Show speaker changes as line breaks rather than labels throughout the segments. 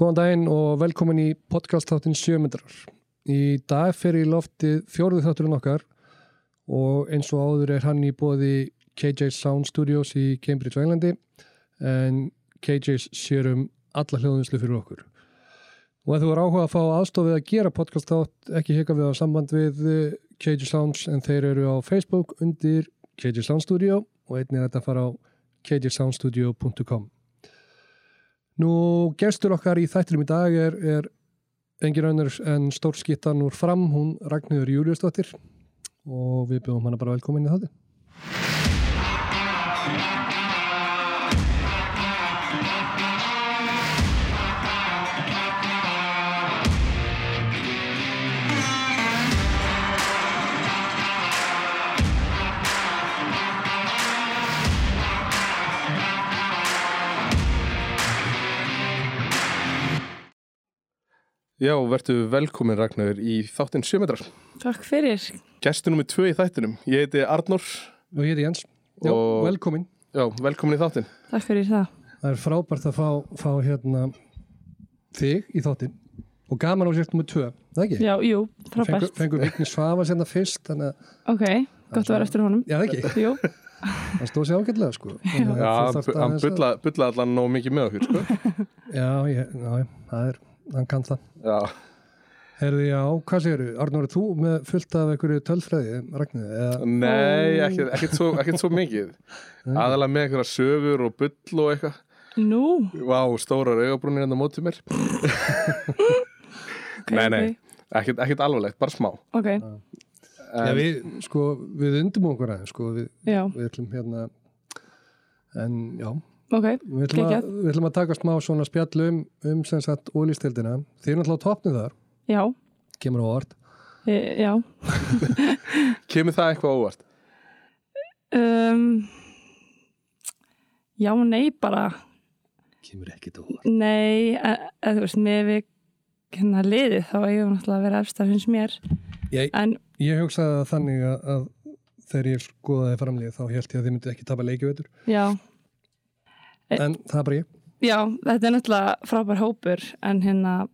Góðan daginn og velkomin í podcast-þáttin sjömyndrar. Í dag fer í loftið fjórðu þátturinn okkar og eins og áður er hann í bóði KJ Sound Studios í Cambridge, Englandi en KJ sér um alla hljóðinslu fyrir okkur. Og ef þú er áhuga að fá aðstofið að gera podcast-þátt, ekki hika við á samband við eh, KJ Sounds en þeir eru á Facebook undir KJ Sound Studio og einnig er þetta að fara á kjsoundstudio.com Nú, gestur okkar í þættinum í dag er, er engin önnur en stórskittan úr fram, hún Ragnhjör Júliusdóttir og við bjóðum hana bara velkomin í þátti.
Já, verðu velkomin Ragnar í þáttinn sjömetrar.
Takk fyrir.
Gestur nummið tvö í þættinum. Ég heiti Arnór.
Og ég heiti Jens. Já,
Og-
velkomin.
Já, velkomin í þáttinn.
Takk fyrir það.
Það er frábært að fá, fá hérna þig í þáttin og gaman á sér nummer tvö, það ekki?
Já, jú,
Fengur,
frábært.
fengur Vigni Svafa sérna fyrst, þannig að,
Ok, gott að vera eftir honum.
já það ekki,
Jú,
það stóð sér ágætlega sko. Þannig að
Já,
þú
hann
þarft
bu- hann
aðeins að-
bullaði bulla allan nóg mikið með okkur, sko.
Já, ég, já, það er, hann kann það.
Já,
Herði, já, hvað segirðu? Arnóri, þú með fullt af einhverju tölfræði, Ragnir, eða,
nei, ekkert, ekkert, svo, ekkert svo mikið. Aðalega með einhverja sögur og bull og eitthvað.
nú.
Vá, stórar augabrúnir enn á mótið mér.
ok,
Nei, nei, ekkert, ekkert alvarlegt, bara smá.
Ok,
já,
En,
við, sko, við undum okkur aðeins, sko, við,
já,
við ætlum hérna, en já,
ok,
Við ætlum, að,
Geggjað.
við ætlum að taka smá svona spjall um, um sem sagt ólýstildina. Þið er náttúrulega á topnum þar,
já,
kemur á orð.
e, já.
kemur það eitthvað óvart?
Um, já, nei, bara,
Kemur ekkit á orð.
nei, e- eða þú veist, með við hérna liðið þá eigum við náttúrulega að vera efstar finnst mér.
Ég,
En,
ég hugsaði það þannig að, að þegar ég skoðaði framlið þá held ég að þið myndið ekki tapa leikjaveitur.
já, Eh.
En það er bara ég.
já, þetta er náttúrulega frábær hópur, en hérna,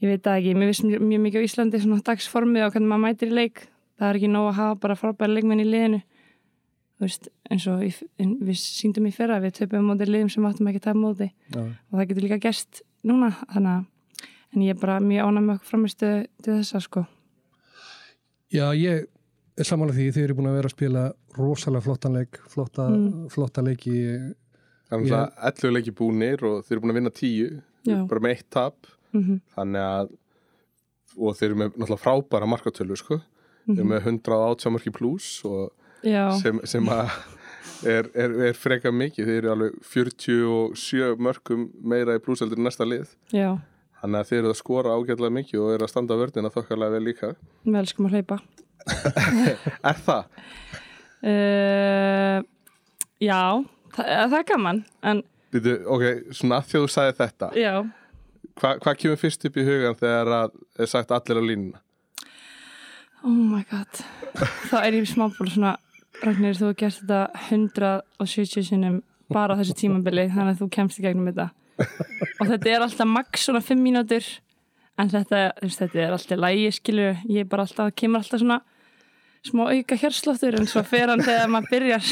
ég veit það ekki, mér finnst mjög, mjög mikið á Íslandi svona dagsformið og hvernig maður mætir í leik. Það er ekki nóg að hafa bara frábæra leikmenn í liðinu. Þú veist, eins og í, en við síndum í fyrra, við töpum mótið liðum sem áttum ekki að tapa móti
Já.
og það getur líka gerst núna, þannig að en ég er bara mjög ánæg með okkur framistu til þessa, sko.
Já, ég er samanlega því þið eru búin að vera að spila rosalega flottan leik, flotta,
Mm.
flotta leiki.
Það er náttúrulega 11 leiki búnir og þeir eru búin að vinna 10,
Já.
bara með eitt tap.
Mm
þannig að og þeir eru með náttúrulega frábæra markatölu sko, þeir eru með 180 mörki pluss og
Já,
sem, sem að er, er, er freka mikið, þeir eru alveg 47 mörkum meira í plusseldur næsta lið,
já,
þannig að þeir eru að skora ágætlega mikið og eru að standa vördina þokkarlega vel líka.
við elskum að hleypa.
Er það?
Uh, já, það, það er gaman, en
Býtu, ok, svona að því að þú sagði þetta,
já,
hva, hvað kemur fyrst upp í hugan þegar að er sagt allir á línuna?
oh my god, þá er ég smából svona, Ragnir, þú hefur gert þetta 170 sinnum bara á þessu tímabili, þannig að þú kemst í gegnum þetta. Og þetta er alltaf max svona 5 mínútur, en þetta, þú veist, þetta er alltaf lægi, skilur, ég er bara alltaf, það kemur alltaf svona smá auka hérsláttur, en svo fer hann þegar maður byrjar.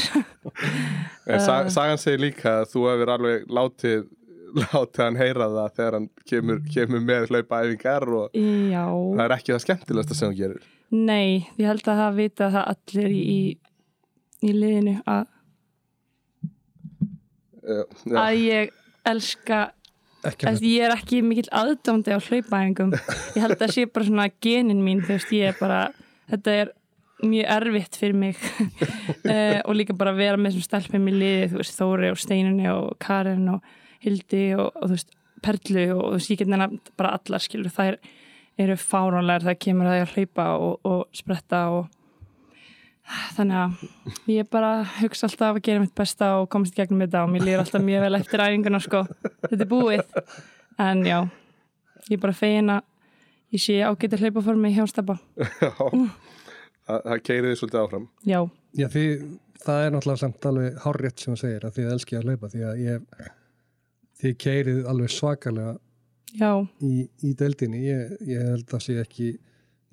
En sa, sagan segir líka að þú hefur alveg látið, látið hann heyra það þegar hann kemur, kemur með hlaupaæfingar og
já,
Það er ekki það skemmtilegsta sem hún gerir.
nei, ég held að það vita það allir í, í liðinu að,
Uh, já,
að ég elska
Ekki
Þess, ég er ekki mikill aðdóndi á hlaupæðingum ég held að það sé bara svona genin mín þú veist, ég er bara, þetta er mjög erfitt fyrir mig uh, og líka bara að vera með þessum stelpum í liði, þú veist, Þóri og Steinunni og Karen og Hildi og, og þú veist, Perlu og þú veist, ég get nefna bara allar skilur, þær eru fáránlegar, það kemur að ég að hlaupa og, og spretta og þannig að ég bara hugsa alltaf að gera mitt besta og komast í gegnum þetta og mér lýr alltaf mjög vel eftir æfinguna sko, þetta er búið en já, ég er bara fegin að ég sé ágæti hlaupa fyrir mig hjástapa,
já. Það, það keiriði svolítið áfram.
já
Já, því það er náttúrulega samt alveg hárrétt sem þú segir að þið elski að hlaupa því að ég þið keirið alveg svakalega
já,
í, í deildinni ég, ég held að sé ekki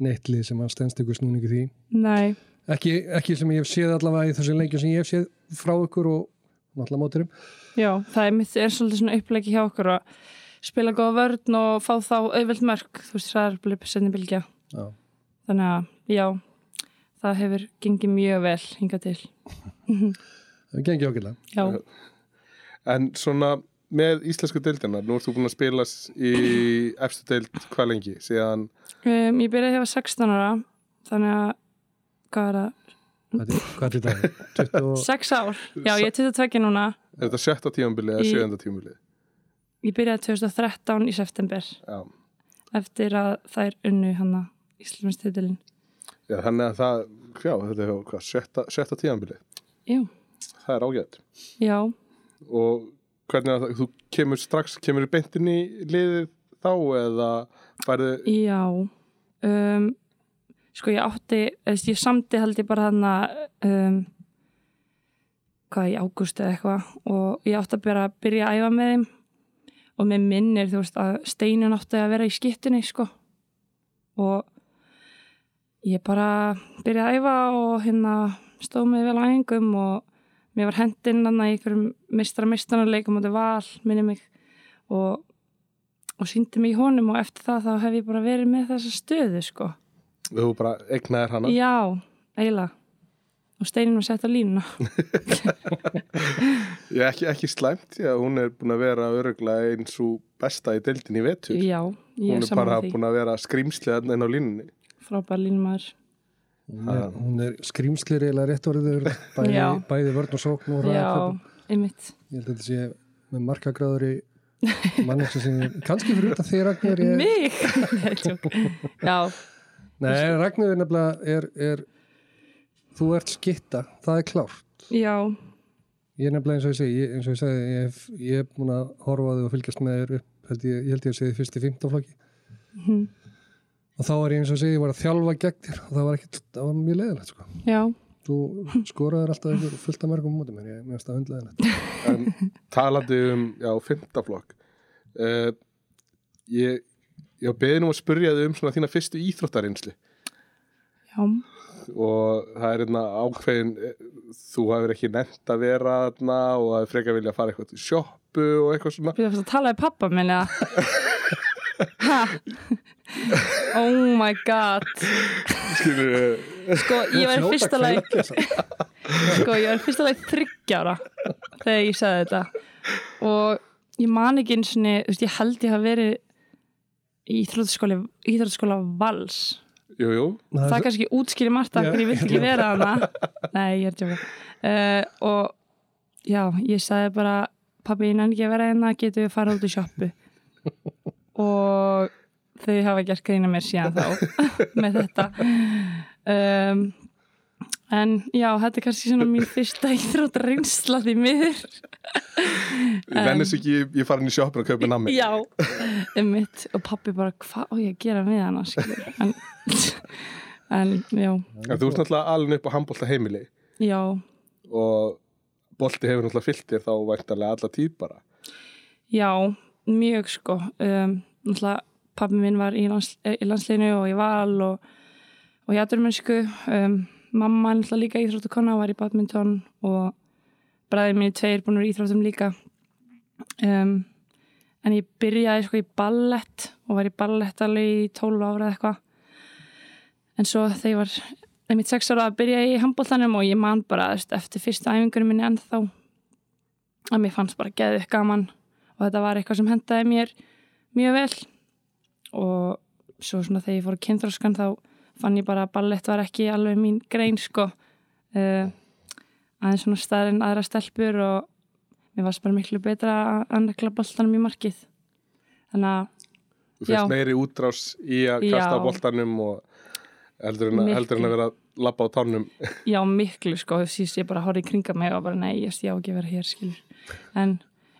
neittlið sem að stendst ykkur snúningi því
næ,
ekki, ekki sem ég hef séð allavega í þessum leikjum sem ég hef séð frá ykkur og náttúrulega móturum
já, það er, mitt, er svolítið svona uppleggi hjá okkur að spila góða vörn og fá þá auðveld mörg, þú veist, það er bara upp senni bylgja,
já.
þannig að já, það hefur gengið mjög vel hingað til,
það gengi ákveðlega
já,
En svona með íslensku deildina, nú ert þú búin að spila s- í efstu deild hvað lengi? Síðan,
um, ég byrjaði að hefa 16 ára, þannig að hvað er það,
hvað er- hvað er þetta? 20
6 ár, já, ég er 22 núna
er þetta sjötta tímabilið eða
Í-
sjöunda tímabilið?
ég byrjaði 2013 í september
Já.
eftir að þær unnu hana Íslandsdildilin
Já, þannig að það, já, þetta er hvað, sjötta, sjötta tímabilið?
já,
Það er ágætt.
já,
Og hvernig að það, þú kemur strax, kemur beint inn í liðið þá eða færðu,
já um, sko ég átti eða, ég samti held ég bara hana um, hvað í ágúst eða eitthvað og ég átti að byrja, byrja að æfa með þeim og með minnir þú veist að steinun átti að vera í skittunni sko og ég bara byrjaði að æfa og hérna stóð mig vel á æfingum og mér var hendinn hann að einhverjum mistra mistanarleikum og þetta val minni mig og, og síndi mig í honum og eftir það þá hef ég bara verið með þessa stöðu sko
þú bara egnaðir hana?
Já, eiginlega og steinin var sett á línuna
Já, ekki, ekki slæmt, já, hún er búin að vera öruglega eins og besta í deildin í vetur.
Já, ég
hún
er
er bara
saman því
búin að vera skrýmslið þarna inn á línunni.
frábær línumæður
hún er, hún er skrýmslir eiginlega rétt orðið bæði,
Já.
bæði vörn og sókn og
Já,
hraðatöp.
einmitt
ég held að þetta sé með markagráður í mannins sem kannski fyrir út af því Ragnar ég,
Mig? Nei, tjók. Já,
Nei, Ragnar er nefnilega er, er, þú ert skitta, það er klárt
já,
ég er nefnilega eins og ég segi ég, eins og ég segi, ég, hef, ég er búin að horfa á þig og fylgjast með þér upp, held ég, ég held ég að segja fyrst í 15 flokki
Mhm.
og þá var ég eins og ég segi, ég var að þjálfa gegn þér og það var ekki, það var mjög leiðilegt sko.
já
þú skoraður alltaf einhver fullt af mörgum mútið mér, ég meðast að hundleiðilegt
En talandi um, já, fymtaflokk. Uh, ég, ég beði nú að spurja þau um svona þína fyrstu íþróttarinsli
Já,
og það er hérna ákveðin, eh, þú hefur ekki nefnt að vera þarna og það er frekar vilja að fara eitthvað til sjoppu og eitthvað svona.
við erum að tala í pappa minn eða Ha? Oh my god
Skilur, eh,
Sko, ég var í fyrsta leik
leik
sko, ég var fyrsta leik þryggjára þegar ég sagði þetta og ég man ekki eins og veist, ég held ég hafa verið í íþróttaskóla, íþróttaskóla vals
jú, jú,
það, kannski útskýri margt af
Já.
hverju ég vill ekki vera hana nei, ég er tjóka uh, og já, ég sagði bara pabbi, ég nenni ekki að vera hérna getum við fara út í sjoppu og þau hafa gert grína mér síðan þá með þetta um, en já, þetta er kannski svona mín fyrsta íþróttar reynsla því miður
um, vennis ekki, ég fara inn í sjoppun og kaupa nammi.
já, um mitt og pabbi bara, hvað á ég að gera með hana skilur?" en, en já,
En þú ert náttúrulega alveg upp á handbólta heimili
já
og bolti hefur náttúrulega fyllt þér þá væntanlega alla tíð bara.
Já, mjög sko. Um, náttúrulega pappi minn var í, lands, eh, í landsliðinu og í val og, og í aturmennsku. Um, mamma er náttúrulega líka íþróttukonna og var í badminton og bræðið minni tveir búin úr íþróttum líka. Um, en ég byrjaði sko í ballett og var í ballett alveg í 12 ára eða eitthvað. En svo þegar ég var, þegar mitt 6 ára byrjaði ég í handbóltanum og ég man bara þú veist, eftir fyrstu æfingunum minni ennþá að mér fannst bara geðið gaman og þetta var eitthvað sem hendaði mér mjög vel og svo svona þegar ég fór að kynþróskan þá fann ég bara að ballett var ekki alveg mín grein sko uh, aðeins svona stærri en aðra stelpur og mér varst bara miklu betra að- að nekla boltanum í markið þannig að
Þú finnst
Já.
meiri útrás í að kasta
Já.
boltanum og heldur en, að,
Miklu.
heldur en að vera að labba á tánum.
já miklu sko síðan ég bara horfði í kringa mig og bara nei ég ég á ekki að vera hér skilur en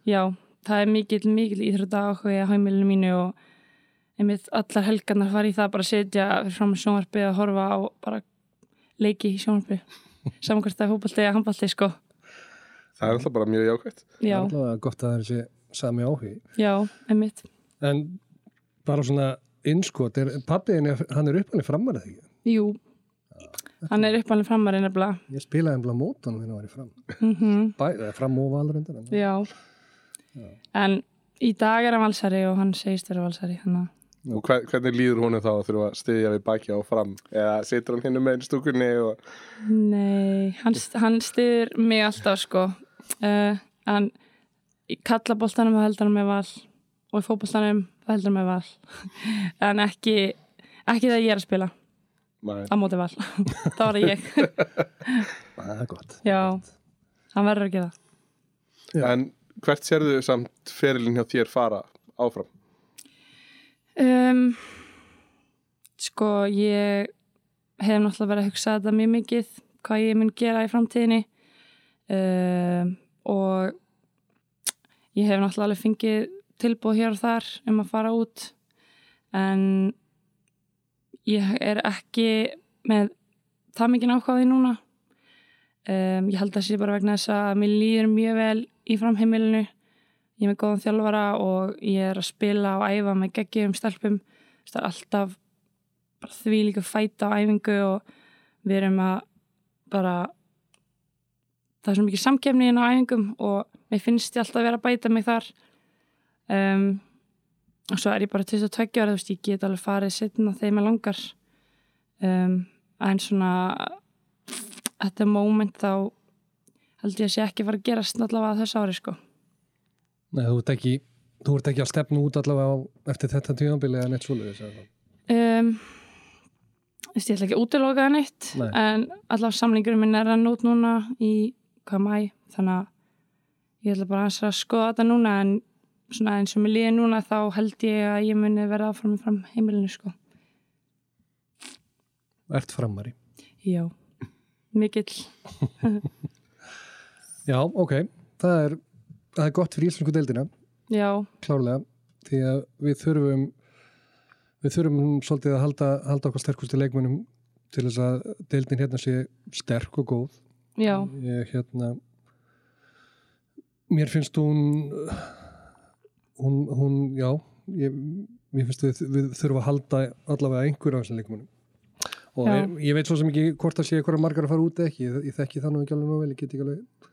já það er mikill mikill íþrótta áhuga á heimilinu mínu og einmitt allar helgarnar fara í það bara að setja fyrir fram sjónvarpið að horfa á bara leiki í sjónvarpið saman hvert að fótbolti eða handbolti sko
Það er alltaf bara mjög jákvæmt.
já,
allavega gott að það er þessi sami áhugi
já, einmitt
en bara svona innskot, er, pappiðin er, hann er uppanlega framar eða ekki,
Jú, hann er uppalega framar nefnilega
ég spilaði ennbla mótan hann var í fram,
mm
Bæ, eða fram og valur endar en
já. En í dag er hann valsari og hann segist vera valsari þannig að
Og hver, hvernig líður honum þá að þurfa að styðja við baki á fram? Eða situr hann hinn um einn stúkunni og...
Nei, hann, hann styður mig alltaf sko uh, en í kallaboltanum það heldur hann með val og í fótboltanum það heldur hann með val en ekki ekki þegar ég er að spila
Nei,
á móti val þá er það ég,
það er gott
já hann verður að gera það
Já.
En hvert sérðu samt ferilinn hjá þér fara áfram?
um, Sko, ég hef náttúrulega verið að hugsa þetta mjög mikið hvað ég mun gera í framtíðinni um, og ég hef náttúrulega alveg fengið tilbúð hér og þar um að fara út en ég er ekki með það mikið nákvæði núna um, ég held að sé bara vegna þess að mér líður mjög vel í framheimilinu ég er með góðan þjálfara og ég er að spila og æfa með geggjum stelpum Þú veist, það er alltaf bara því líka fæta á æfingu og við erum að bara það er svo mikið samkefni inn á æfingum og mér finnst ég alltaf vera að bæta mig þar um, og svo er ég bara 22 ára, þú veist, ég get alveg farið setna þegar mér langar um, en svona þetta moment þá held ég að sé ekki fara að gerast allavega á þessu ári sko
Nei, þú ert ekki, þú ert ekki að stefna út allavega á, eftir þetta tíðanbili eða neitt svoleiðis eða það.
um, þú veist, ég ætla ekki að útiloka það neitt
Nei.
en allavega samlingurum minn er að nút núna í hvað mæ þannig að ég ætla bara aðeins að skoða þetta núna en svona eins og mér líði núna þá held ég að ég muni verða áfram í fram heimilinu sko
ert framari.
já, mikill
Já, ok, það er, það er gott fyrir íslensku deildina,
já,
klárlega, því að við þurfum, við þurfum svolítið að halda, halda okkar sterkustu leikmönnum til þess að deildin hérna sé sterk og góð.
já,
Ég, hérna, mér finnst hún, hún, hún já, ég, mér finnst við, við þurfum að halda allavega einhverja af þessum leikmönnum. Og
Já.
ég, ég veit svo sem ekki hvort það sé eitthvað margar að fara út eða ekki, ég, ég þekki það nú ekki alveg nú vel, ég get ekki alveg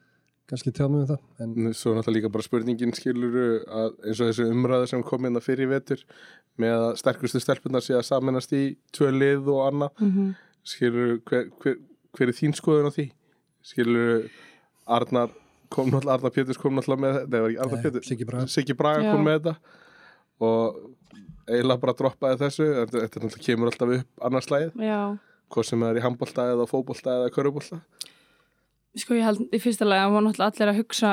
kannski tjá mig um það, en
Svo er náttúrulega líka bara spurningin skilur að eins og þessi umræða sem kom hérna fyrir í vetur með að sterkustu stelpunar sé að saminast í tvö lið og annað
mhm
skilur hver, hver, hver er þín skoðun á því skilur Arnar kom náttúrulega, Arnar Péturs kom náttúrulega með þetta, nei, var ekki Arnar
Nei,
Péturs
eh, Siggi Braga.
Siggi Braga
Já.
kom með þetta og eiginlega bara droppaði þessu þetta, þetta náttúrulega kemur alltaf upp annarslæð
já
hvað sem er í handbólta eða fótbolta eða körubólta
Sko ég held í fyrsta lega hann var náttúrulega allir að hugsa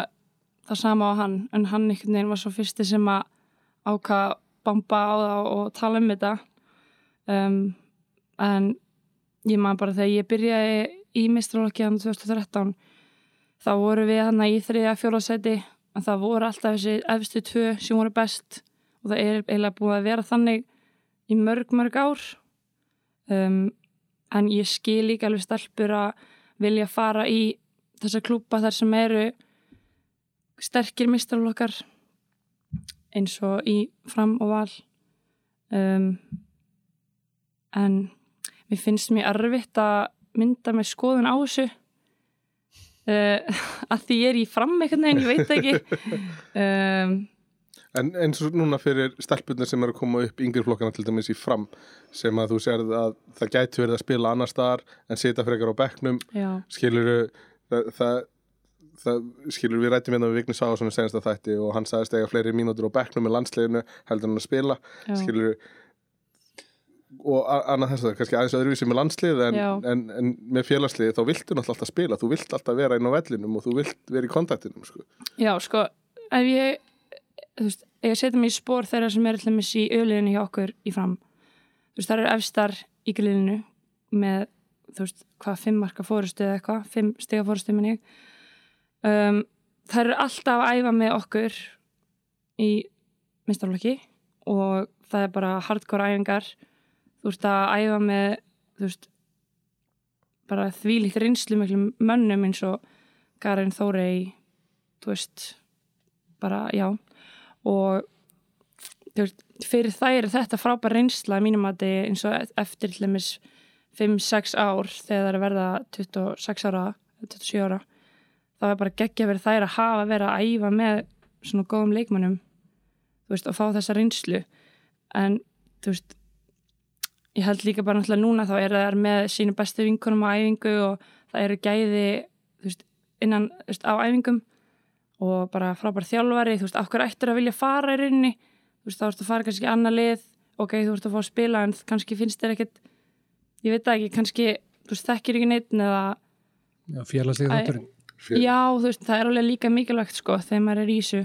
það sama á hann en hann einhvern veginn var svo fyrsti sem að áka bamba á það og tala um þetta um, en ég maður bara þegar ég byrjaði í mistralokkiðan 2013 þá voru við hann í þriðja fjólasæti en það voru alltaf þessi efstu tvö sem voru best og það er eiginlega búið að vera þannig í mörg mörg ár um, en ég skil líka alveg stelpur að vilja fara í þessa klúpa þar sem eru sterkir mistarflokkar eins og í fram og val um, en mér finnst mér erfitt að mynda með skoðun á þessu uh, að því ég er í fram einhvern veginn, ég veit það ekki um,
En eins og núna fyrir stelpunar sem eru að koma upp yngri flokkana til dæmis í fram sem að þú serð að það gæti verið að spila annar staðar en sita frekar á bekknum
já,
skilur það, það, það skilur við rættum hérna við Vignis Áhásson senast að þætti og hann sagðist eiga fleiri mínútur á bekknum með landsleginu heldur hann að spila
já,
skilur og a- annað þess að kannski aðeins öðruvísi með landslið en,
Já.
en, en með félagslið þá viltu náttúrulega alltaf spila þú vilt alltaf vera inn á vellinum og þú vilt vera í kontaktinum sko.
já, sko ef ég þú veist, ef ég setja mig í spór þeirra sem eru til dæmis í öliðinu hjá okkur í fram þú veist, það eru efstar í grillinu með, þú veist, hvað fimm marka fórustu eða eitthvað, fimm stiga fórustu minni um, það eru alltaf að æfa með okkur í minnstaflokki og það er bara hardcore æfingar þú veist að æfa með þú veist bara þvílíkt reynslu miklum mönnum eins og Karin Þórei þú veist bara, já og þú veist, fyrir þær er þetta frábær reynsla að mínum að þið eins og e- eftir til dæmis 5-6 ár þegar það er að verða 26 ára 27 ára þá er bara geggja verið þær að hafa verið að æfa með svona góðum leikmannum þú veist, og fá þessa reynslu en þú veist ég held líka bara náttúrulega núna þá er það með sínu bestu vinkunum á æfingu og það eru gæði þú veist, innan, þú veist, á æfingum og bara frábær þjálfari þú veist, okkur ættir að vilja fara í rauninni þú veist, þá ertu að fara kannski í annað lið ok, þú ert að fá að spila en kannski finnst þér ekkit ég veit það ekki, kannski þú veist, þekkir ekki neitt eða
Já, fjarlagslega
Æ.
þátturinn.
Fyrir-
já, þú veist, það er alveg líka mikilvægt sko, þegar maður er í þessu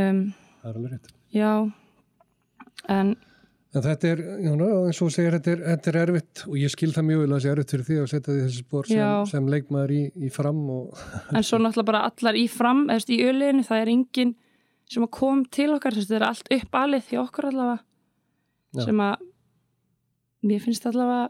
um,
Það er alveg rétt.
já en,
En þetta er, já, ná, eins og þú segir, þetta er, þetta er erfitt og ég skil það mjög vel að það sé erfitt fyrir því að setja því þessi spór sem,
Já.
sem leikmaður í, í fram og
en svo náttúrulega bara allar í fram, eða þú veist, í öliðinu það er enginn sem að kom til okkar, þú veist, það er allt uppalið því okkur allavega
Já.
sem að mér finnst allavega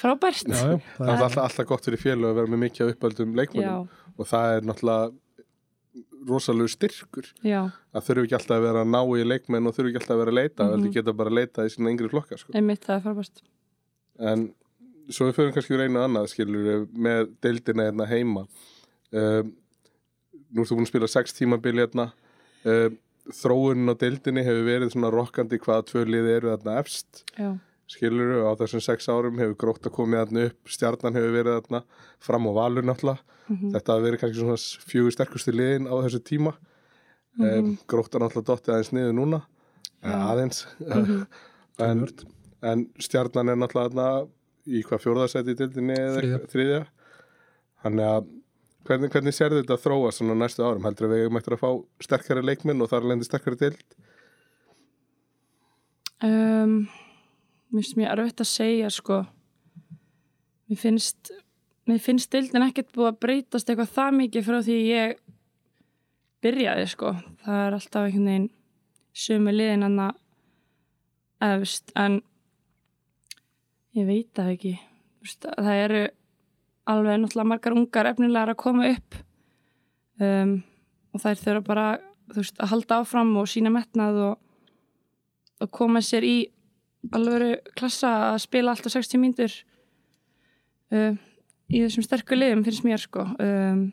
frábært
já, já,
Það
það
er
er,
alltaf, alltaf gott fyrir félög að vera með mikið af uppöldum
já,
leikmannum og það er náttúrulega rosalegu styrkur
já,
að þurfu ekki alltaf að vera að ná í leikmenn og þurfu ekki alltaf að vera að leita mm
Mhm.
heldur geta bara að leita í sína yngri flokka sko.
einmitt það er frábært
en svo við förum kannski úr einu og annað skilur við með deildina hérna heima um, nú ertu búin að spila sex tímabili hérna um, þróunin á deildinni hefur verið svona rokkandi hvaða tvö liði eru þarna efst
já,
skilur við á þessum sex árum hefur grótt að komið þarna upp, stjarnan hefur verið þarna fram á valur náttúrulega
mhm,
þetta hafi verið kannski svona fjögur sterkustu liðin á þessu tíma mm -hmm. um,
mhm,
gróttan alltaf dottið aðeins niður núna Eh,
Já.
aðeins
mhm,
en,
Töluvert.
en stjarnan er náttúrulega þarna í hvað fjórðarsæti í dildinni eða
Þriðja.
eitthvað- þriðja þannig að hvernig, hvernig sér þetta að þróa svona næstu árum heldur við eigum eftir að fá sterkari leikminn og þar lendi sterkari dild
um, mér finnst mér erfitt að segja sko mér finnst mér finnst deildin ekkert búið að breytast eitthvað það mikið frá því ég byrjaði sko það er alltaf einhvern veginn sömu liðin hann efst en ég veit það ekki Þú veist, það eru alveg náttúrulega margar ungar efnilegar að koma upp um, og þær þurfa bara þú veist, að halda áfram og sína metnað og, og koma sér í alvöru klassa að spila alltaf 60 mínútur um, í þessum sterku liðum finnst mér sko um,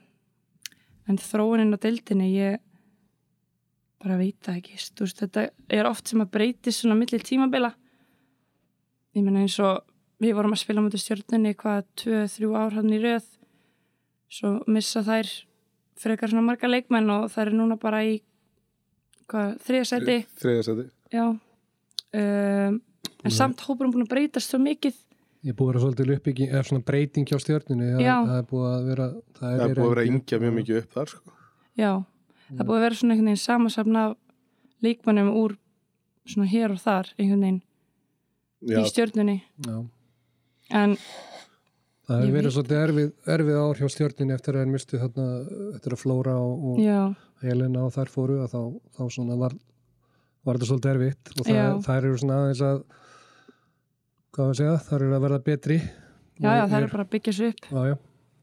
en þróunin á deildinni ég bara veit það ekki þú veist, þetta er oft sem að breytist svona milli tímabila ég meina eins og við vorum að spila mútið stjórnunni hvað 2-3 ár hann í röð svo missa þær frekar svona marga leikmenn og þær er núna bara í hvað, þriðasæti
þriðarsæti
já um, en samt hópurum búin að breytast svo mikið
ég er búið að vera svolítið uppbygging, eða svona breyting hjá stjörnunni, það,
Já.
það er búið að vera, það
það
er,
er búið að vera yngja mjög mikið upp þar sko.
já, það er búið að vera svona einhvern veginn samasafna af leikmannum úr svona hér og þar einhvern veginn
Já,
í stjörnunni
Já.
en
Það
Ég
hefur verið
veit.
svolítið erfið, erfið ár hjá stjórninni eftir að þeir mistu þarna, eftir að Flóra og,
já,
og Helena og þær fóru að þá, þá svona var, var þetta svolítið erfitt og það,
Já.
þær eru svona aðeins að, hvað á ég að segja, þær eru að verða betri.
já, já,
Og
það er bara að byggja svo upp
Já, já,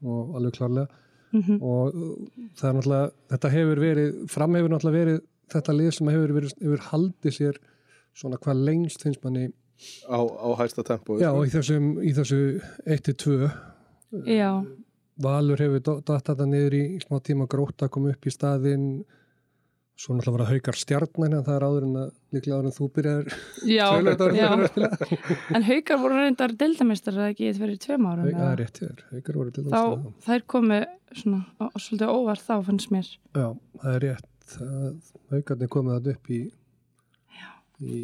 og alveg klárlega.
mm
Og uh, það er náttúrulega, þetta hefur verið, fram hefur náttúrulega verið þetta lið sem hefur verið, hefur haldið sér svona hvað lengst finnst manni,
á, á hæsta tempói
já,
sko.
og í þessum, í þessu 1-2
já,
Valur hefur datt þetta niður í smá tíma gróta kom upp í staðinn svo náttúrulega var að haukar stjarnan en það er áður en að líklega áður en þú byrjar
já, já.
að spila
en haukar voru reyndar deildameistar eða ekki fyrir tveim árum
það er
eða?
rétt hér, haukar voru til
þá,
dæmis það.
þær komu svona, á, svolítið óvart þá fannst mér
já, það er rétt Það- haukarnir komið þetta upp í í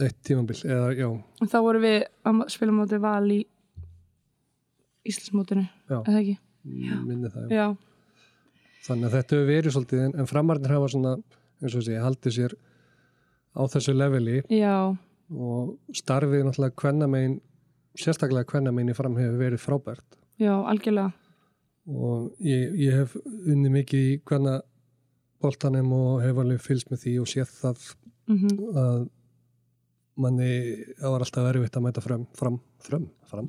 eitt tímambil eða já,
en þá voru við að mo- spila móti val í Íslandsmótinu
Já.
eða ekki,
minni það já.
já,
þannig að þetta hefur verið svolítið en, en framarnir hafa svona, eins og sé, haldið sér á þessu leveli
já.
og starfið náttúrulega kvennamein sérstaklega kvennamein í fram hefur verið frábært
Já, algjörlega.
og ég, ég hef unni mikið í hvenna boltanum og hef alveg fylgst með því og séð það
Mm
að manni það var alltaf erfitt að mæta fram fram, fram, fram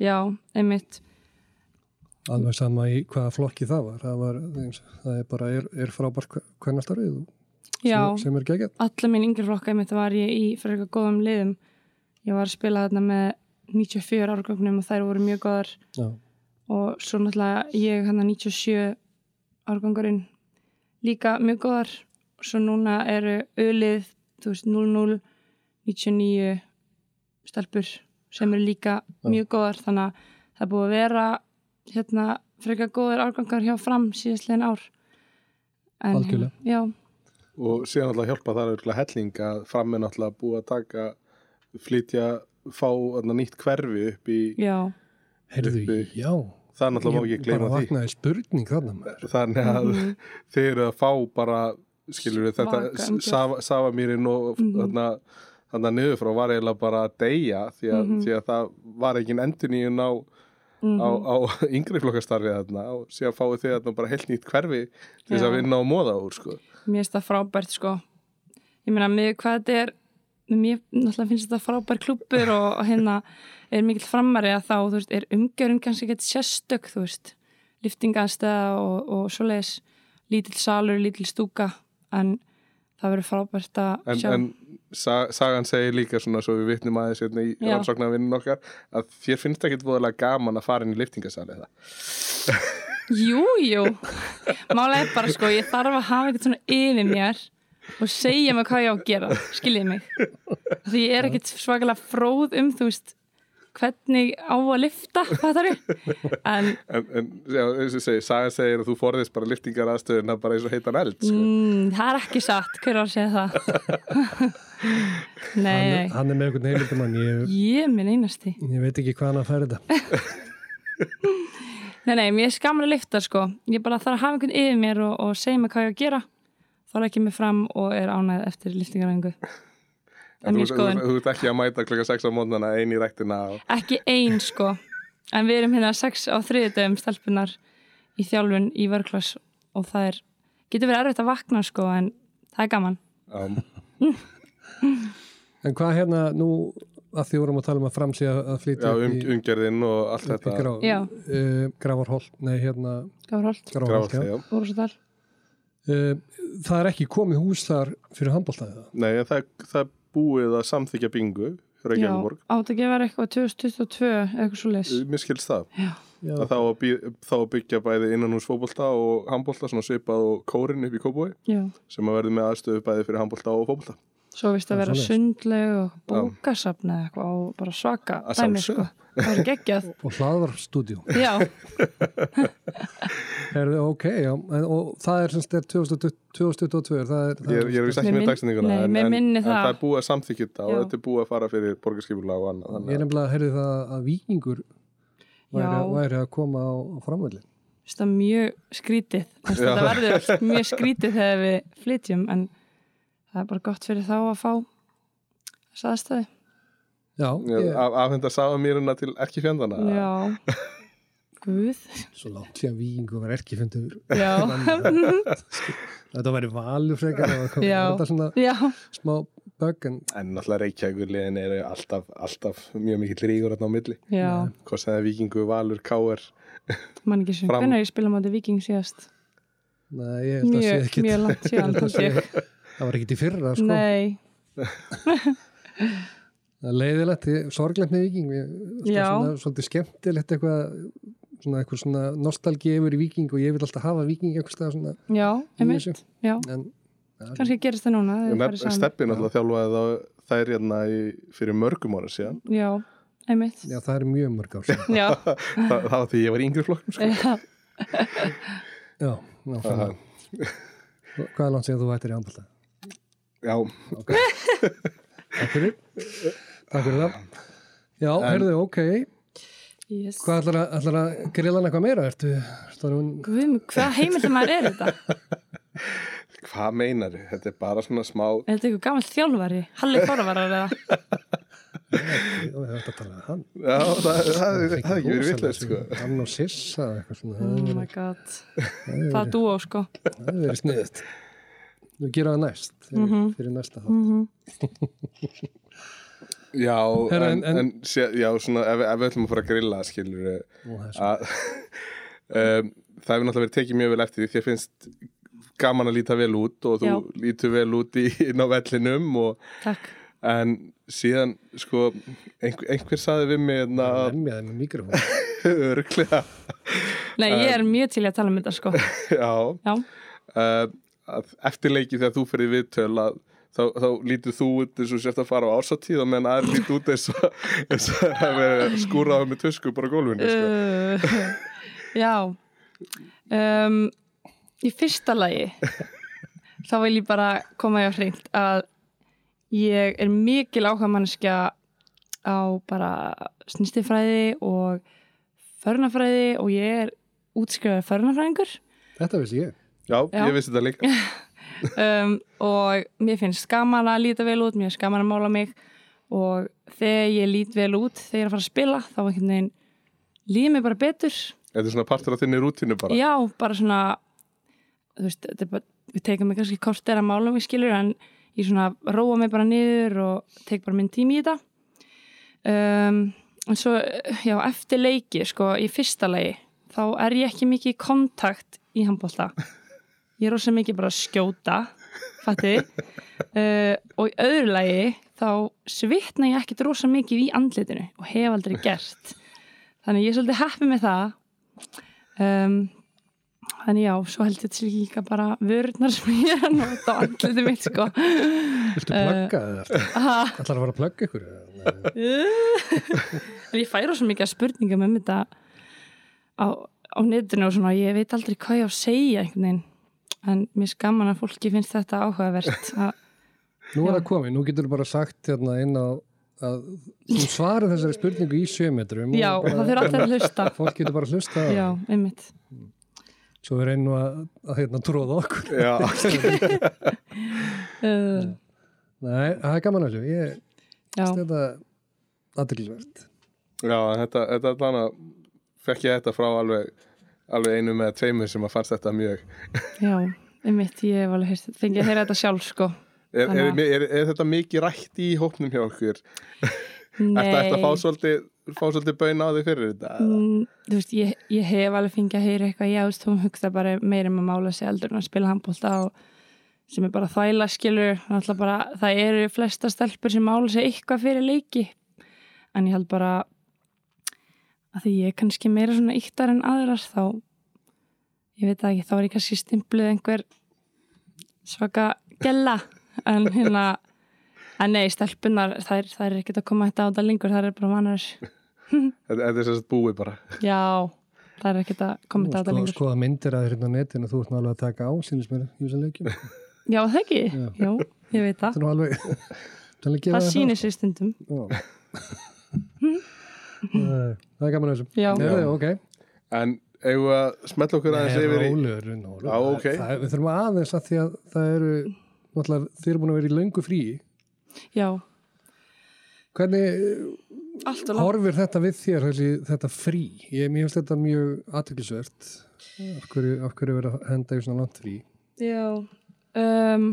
Já, einmitt.
alveg sama í hvaða flokki það var það, var, eins- það er bara er, er frábært hvernastarið
Já,
sem, sem er geggjað
alla mín yngri flokka mitt var ég í fyrir eitthvað góðum liðum ég var að spila þarna með 94 árgögnum og þær voru mjög góðar
Já.
og svo náttúrulega ég hann 97 árgangurinn líka mjög góðar og svo núna eru ölið þú veist 00 99 stelpur sem eru líka mjög góðar þannig að það er búið að vera hérna frekar góðar árgangar hjá fram síðastliðin ár en,
Algjörlega.
já,
og síðan alltaf hjálpa það er helling að fram er alltaf búið að taka flytja, fá alltaf nýtt hverfi upp í,
já,
Herðu,
Uppi.
já
það er alltaf má ekki gleyma
bara
því
vaknaði spurning þarna maður.
sko.
þannig að þeir eru að fá bara skilur við
Mhm. Svaka
þetta
umgjörð.
Sava- Savamýrin og mm
Mhm.
-hmm. þannig að niður frá var eiginlega bara að deyja því að,
Mhm.
því að það var ekki enduníun á,
mm
á, á yngri flokkastarfið þarna og síðan fáið þið þarna bara heilt nýtt hverfi til þess
Já.
að vinna og móða úr sko.
mér finnst það frábært sko ég meina með hvað þetta er mér náttúrulega finnst þetta frábær klúppur og, og hérna er mikill framari að þá þú veist, er umgjörun kannski ekkert sérstök þú veist, liftingaðstæða og, og svoleiðis, lítill salur lítill stúka, en það verður frábært að
en,
sjá
en sa, sagan segir líka svona svo við vitnum aðeins hérna í
Já.
rannsóknarvinnin okkar að þér finnst ekki voðalega gaman að fara inn í liftingasali það
Jú, jú Mála er bara sko, ég þarf að hafa eitthvað svona yfir mér og segja mig hvað ég á að gera skiljiði mig því ég er ekkert svakalega fróð um þú veist, hvernig á að lifta hvað það eru en
en, en já, eins og ég segi, sagan segir að þú forðist bara liftingar aðstöðuna bara eins og heitan eld sko.
mm, það er ekki satt, hver var að segja það
hann,
Nei,
er-
nei
hann er með einhvern heimildamann ég,
Ég minn einasti
ég veit ekki hvað hann að færa þetta
Nei, nei, mér er skaman að lifta sko ég bara þarf að hafa einhvern yfir mér og, og segja mig hvað ég á að gera þá er ekki mig fram og er ánæð eftir liftingaræðingu
En
En
þú,
mér
þú,
skoðun
þú, þú ert ekki að mæta klokka 6 á mótnana einn í rættina og
ekki ein sko en við erum hérna sex á þriðdöfum stelpunar í þjálfun í vörklass og það er, getur verið erfitt að vakna sko en það er gaman
um,
en hvað hérna nú að því vorum að tala um að framsí að að
já,
flytja
um, umgerðin og allt
upp í
þetta
grá,
Já.
uh, gravarholt nei hérna
Gáðurholt,
gravarholt
gráð
já.
já.
Úrúsadal
Uh, það er ekki komið hús þar fyrir handbóltaðið
Nei, en það, það er búið að samþykja bingu
Já,
Reykjavíkborg,
átt að gefa eitthvað 2022 eitthvað svo leis
Eh, mér skilst það
Mm. já,
að þá að, bí, þá að byggja bæði innan hús fótbolta og handbolta svona svipað og kórin upp í kópúi
Já,
sem að verði með aðstöðu bæði fyrir handbolta og fótbolta
svo vist
Það
að
er
vera
svoleiðis.
sundleg og bókasafna eða eitthvað og bara svaka
Að
dæmi sko
sjálfsögðu.
Það er geggjað,
og hlaðvarstúdíu
já,
Herðu, ok, já, en, og það er semst er 2020 2022, það er, það
Ég, er- ég er vist ekki
Mér
með
minn-
dagstendinguna
nei,
en,
mér
en,
minnir
en
það.
það er búið að samþykja þetta og
Já.
þetta er búið að fara fyrir borgarskipulega og annað
ég
þannig að-
nefnilega heyrði það að vikingur væri,
Já.
væri að koma á, á framvöldi.
Vist það mjög skrítið Vist Þetta verður allt mjög skrítið þegar við flytjum en það er bara gott fyrir þá að fá þess aðstæði
Já,
Ég-
ég,
af- afhenda sáðamýruna til ekki fjandana
Já, guð
svo langt síðan vikingur var ekki fundur.
Já,
Þetta væri valur frekar að koma
Já.
þetta svona
já,
smá bögg en
En náttúrulega Reykjavíkurliðin eru alltaf, alltaf mjög mikill rígur þarna á milli.
já
Hvað sem það er Víkingu, Valur, K.R.
Man ekki sem,
Fram-
hvernig er ég spila á móti viking síðast?
nei, ég held að sé
Mjög,
ekki,
mjög langt síðan
Þetta
held
sé-
ég.
það var ekki til fyrra, sko.
Nei,
Það er leiðilegt, ég- sorglegt með viking, ég, sko,
Já.
svona, svolítið skemmtilegt eitthvað, svona eitthvað svona nostalgi yfir í viking og ég vil alltaf hafa viking eitthvað stað svona,
já,
Í
einmitt Já,
en
kannski gerist það núna þegar þið farið saman.
Steppi náttúrulega þjálfaði þá þær hérna í, fyrir mörgum ára síðan.
Já, einmitt
já, það er mjög mörg ár síðan.
Já,
Þa, það var því ég var í yngri flokkum. Sko.
já
Já, nákvæmlega. Hvað er langt síðan þú vættir í handbólta?
Já,
Takk fyrir. Takk fyrir það. Já, en, herðu, ok.
yes.
Hvað ætlar að, ætlar að grilla hann eitthvað meira? Ertu, stóru hún,
Guð, minn, hvað heimildum maður er þetta?
hvað meinar þið? Þetta er bara svona smá...
Er þetta eitthvað gamall þjálfari? Halli Þorvarar eða?
ég veit að tala um hann.
Já, það, það, það, það er ekki verið vitlega, sko.
Hann og Sissa, eitthvað svona.
Oh my god, það er dúo sko
Það hefur verið sniðið. Nú gera það næst, fyrir,
Mhm.
fyrir næsta þátt.
Já,
Herra,
en,
en-
en, sé, já svona, ef, ef við ætlum að fara að grilla, skilur við,
Nú, það er svo-
að um, það hefur náttúrulega verið tekið mjög vel eftir því þér finnst gaman að líta vel út og þú
Já.
lítur vel út í, inn á vellinum og,
Takk.
en síðan sko einhver, einhver saði við mig hérna að
Lemjaði með mikrofón.
örglega
Nei, ég er mjög til í að tala um þetta sko.
já,
Já,
uh, að eftir leiki þegar þú fyrir viðtöl að þá, þá lítur þú út eins og sért að fara á ásatíð og meðan aðri lítur út eins og eins og það er verið að skúra á þeim með tusku bara á gólfinu sko.
uh, já. Um, Í fyrsta lagi þá vil ég bara koma í að hreint að ég er mikil áhuga mannskja á bara snistifræði og förnafræði og ég er útskrifaði förnafræðingur
Þetta vissi ég.
já,
Já.
ég vissi þetta líka
um, og mér finnst gaman að líta vel út, mér finnst gaman að mála mig og þegar ég lít vel út þegar ég er að fara að spila, þá einhvern veginn líði mér bara betur
þetta er svona partur af þinni rútínu bara
já, bara svona þú veist, þetta er bara, við tekum mig kannski kortir að mála mig skilur, en ég svona róa mig bara niður og tek bara minn tími í þetta um, en svo, já, eftir leiki sko, í fyrsta leiki þá er ég ekki mikið í kontakt í handbólta ég er rosa mikið bara að skjóta fattið uh, og í öðru lagi þá svitna ég ekkert rosa mikið í andlitinu og hef aldrei gert þannig ég er svolítið happy með það um, þannig já, svo held ég til líka bara vörðnar sem ég er að nota á andlitið mitt sko
Viltu
Uh,
plugga það eftir?
Ha,
Ætlar að fara að plugga ykkur? eða? Nei.
en ég fæ rosa mikið af spurningum um þetta á, á netinu og svona ég veit aldrei hvað ég á að segja einhvern veginn en mér er gaman að fólki finnst þetta áhugavert að
Nú er
Já.
það komið, nú getur þú bara sagt hérna inn á að þú svarar þessari spurningu í sjömetrum
Já, það þurfa allir að hlusta
Fólk getur bara að hlusta
Já, einmitt
svo við reynum að, að hérna, tróða okkur
já,
uh,
Nei, það er gaman að þessu ég
Já,
finnst þetta aðtilsvert
já þetta, þetta er þannig að fekk ég þetta frá alveg alveg einu með tveimur sem að fannst þetta mjög
já, einmitt Ég hef alveg heyrt- fengið að heyra þetta sjálf sko
er, er,
Þannig
er, er, þetta mikið rætt í hópnum hjá okkur?
Nei
Ertu ertu að fá svolítið, fá svolítið bauðin á þig fyrir þetta?
Mm, Þú veist, ég, ég hef alveg fengið að heyra eitthvað, já, þú veist, hún hugsa bara meira um að mála sig eldur en að spila handbólta og sem er bara þvæla skilur, náttúrulega bara, það eru flesta stelpur sem mála sig eitthvað fyrir leiki, en ég held bara að því ég er kannski meira svona yktar en aðrar þá, ég veit það ekki, þá er ég kannski stimpluð einhver svaka gella, en hérna, en nei, stelpunar, þær, þær er ekkert að koma þetta á þetta lengur, þær er bara vanar þessu.
Þetta þetta er sérst búið bara.
Já, það er ekkert að koma þetta að það
sko,
lengur.
sko að myndir að þér hérna á netinu þú ert nálega að taka á sínismir í þessum leikjum þetta
Já, það ekki? Já, ég veit það.
er nú alveg það,
Það sýnir sér stundum.
það, Nei, það er gaman að þessu
Já.
Nei, nei, ok
En eigum við að smetla okkur aðeins
Nei,
yfir í...
rólegur, rólegur.
Já, ok.
það, Við þurfum aðeins að því að það eru náttúrulega, þið eru búin að vera í löngu fríi
Já,
Hvernig eh,
allt og langt.
horfir þetta við þér, þessi, þetta frí? Ég, mér finnst þetta mjög aðtökisvert. Af hverju, af hverju verið að henda í svona langt frí?
Já. Um,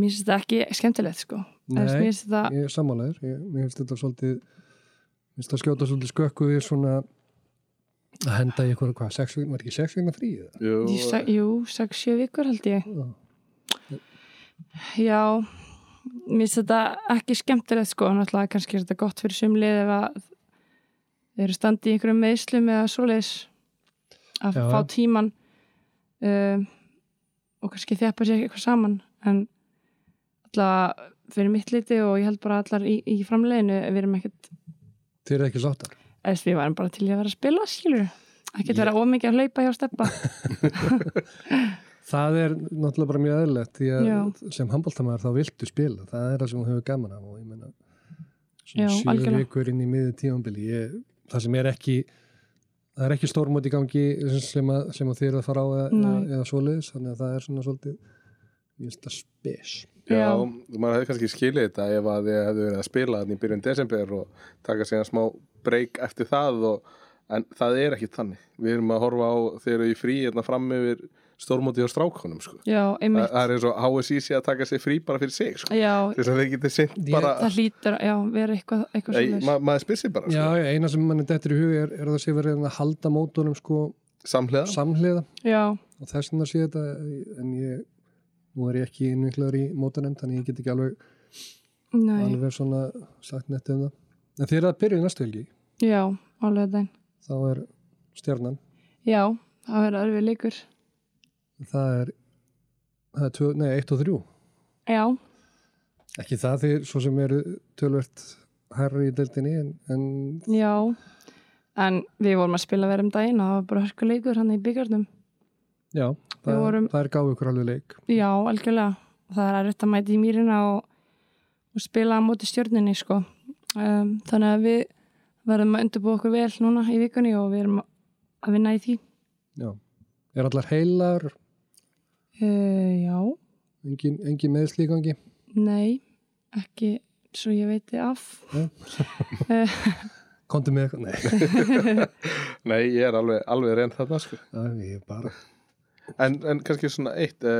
mér finnst þetta ekki skemmtilegt, sko. Nei. Mér
Nei.
finnst þetta,
Ég er sammálaður. Ég, mér finnst þetta svolítið, mér finnst það skjóta svolítið skökku við svona að henda í eitthvað, hvað, sex vikna, var ekki sex vikna frí? eða?
Jú,
ég sa- jú, 6-7 vikur held ég.
eh. Já.
Já, mér finnst þetta ekki skemmtilegt, sko. Náttúrulega kannski er þetta gott fyrir sumlið ef að þeir eru standið í einhverjum meðslum eða svoleiðis að
Já.
fá tíman um, og kannski þjapa sér eitthvað saman en alltaf fyrir mitt liti og ég held bara allar í, í framleginu við erum ekkert,
Þið eru ekki sáttar.
eða við varum bara til í að vera að spila skilur, ekkert vera ómikið að hlaupa hjá steppa,
Það er náttúrulega bara mjög eðlilegt því að
Já.
sem handbóltamæður þá viltu spila. Það er það sem þú hefur gaman af og ég meina
Já,
svona sjö
algjörlega.
vikur inn í miði tímanbili. Ég, það sem er ekki, það er ekki stórmót í gangi sem að, sem að þið eru að fara á eða, eða,
Nei.
eða svoleiðis. Þannig að það er svona svolítið, ég finnst það spes.
já,
Já.
maður hefði kannski skilið þetta ef að þið hefðu verið að spila þannig í byrjun desember og taka síðan smá breyk eftir það og, en það er ekki þannig. Við erum að horfa á þeir eru í frí hérna fram yfir stórmótið á strákonum sko.
já,
Þa,
einmitt
það er eins og HSI sé að taka sér frí bara fyrir sig sko.
já,
þess að þeir getið sint
Ég-
bara
það hlýtur, já, vera eitthvað, eitthvað
Ei,
sem
ma maður spyr sér bara
Já,
sko.
já, eina sem manni dettur í hugi er, er að það sé verið að halda mótunum sko
samhlega
samhliða
já,
og þess vegna sé þetta en ég, nú er ég ekki innviklaður í mótanemnd þannig ég get ekki alveg,
nei,
alveg svona sagt netta um það en þeir eru að byrja í næstu helgi
já, alveg þeim
þá er stjarnan
já, það verður erfið líkur
það er, það er tvö, nei, 1 og 3
já,
ekki það því svo sem eru tölvert herri í deildinni en, en
já en við vorum að spila verðum daginn og það var bara hörku leikur hann í byggarnum
já, það,
vorum-
það er gáðu ykkur alveg leik
já, algjörlega, það er erfitt að mæta í mýrina og, og spila á móti stjörninni sko um, þannig að við verðum að undirbúa okkur vel núna í vikunni og við erum að vinna í því
já. er allar heilar
uh, já,
engin, engin meðslíkangi
nei ekki svo ég veiti af
komdu með eitthvað, nei
nei, ég er alveg, alveg reynd þarna sko.
það er bara
en, en kannski svona eitt uh,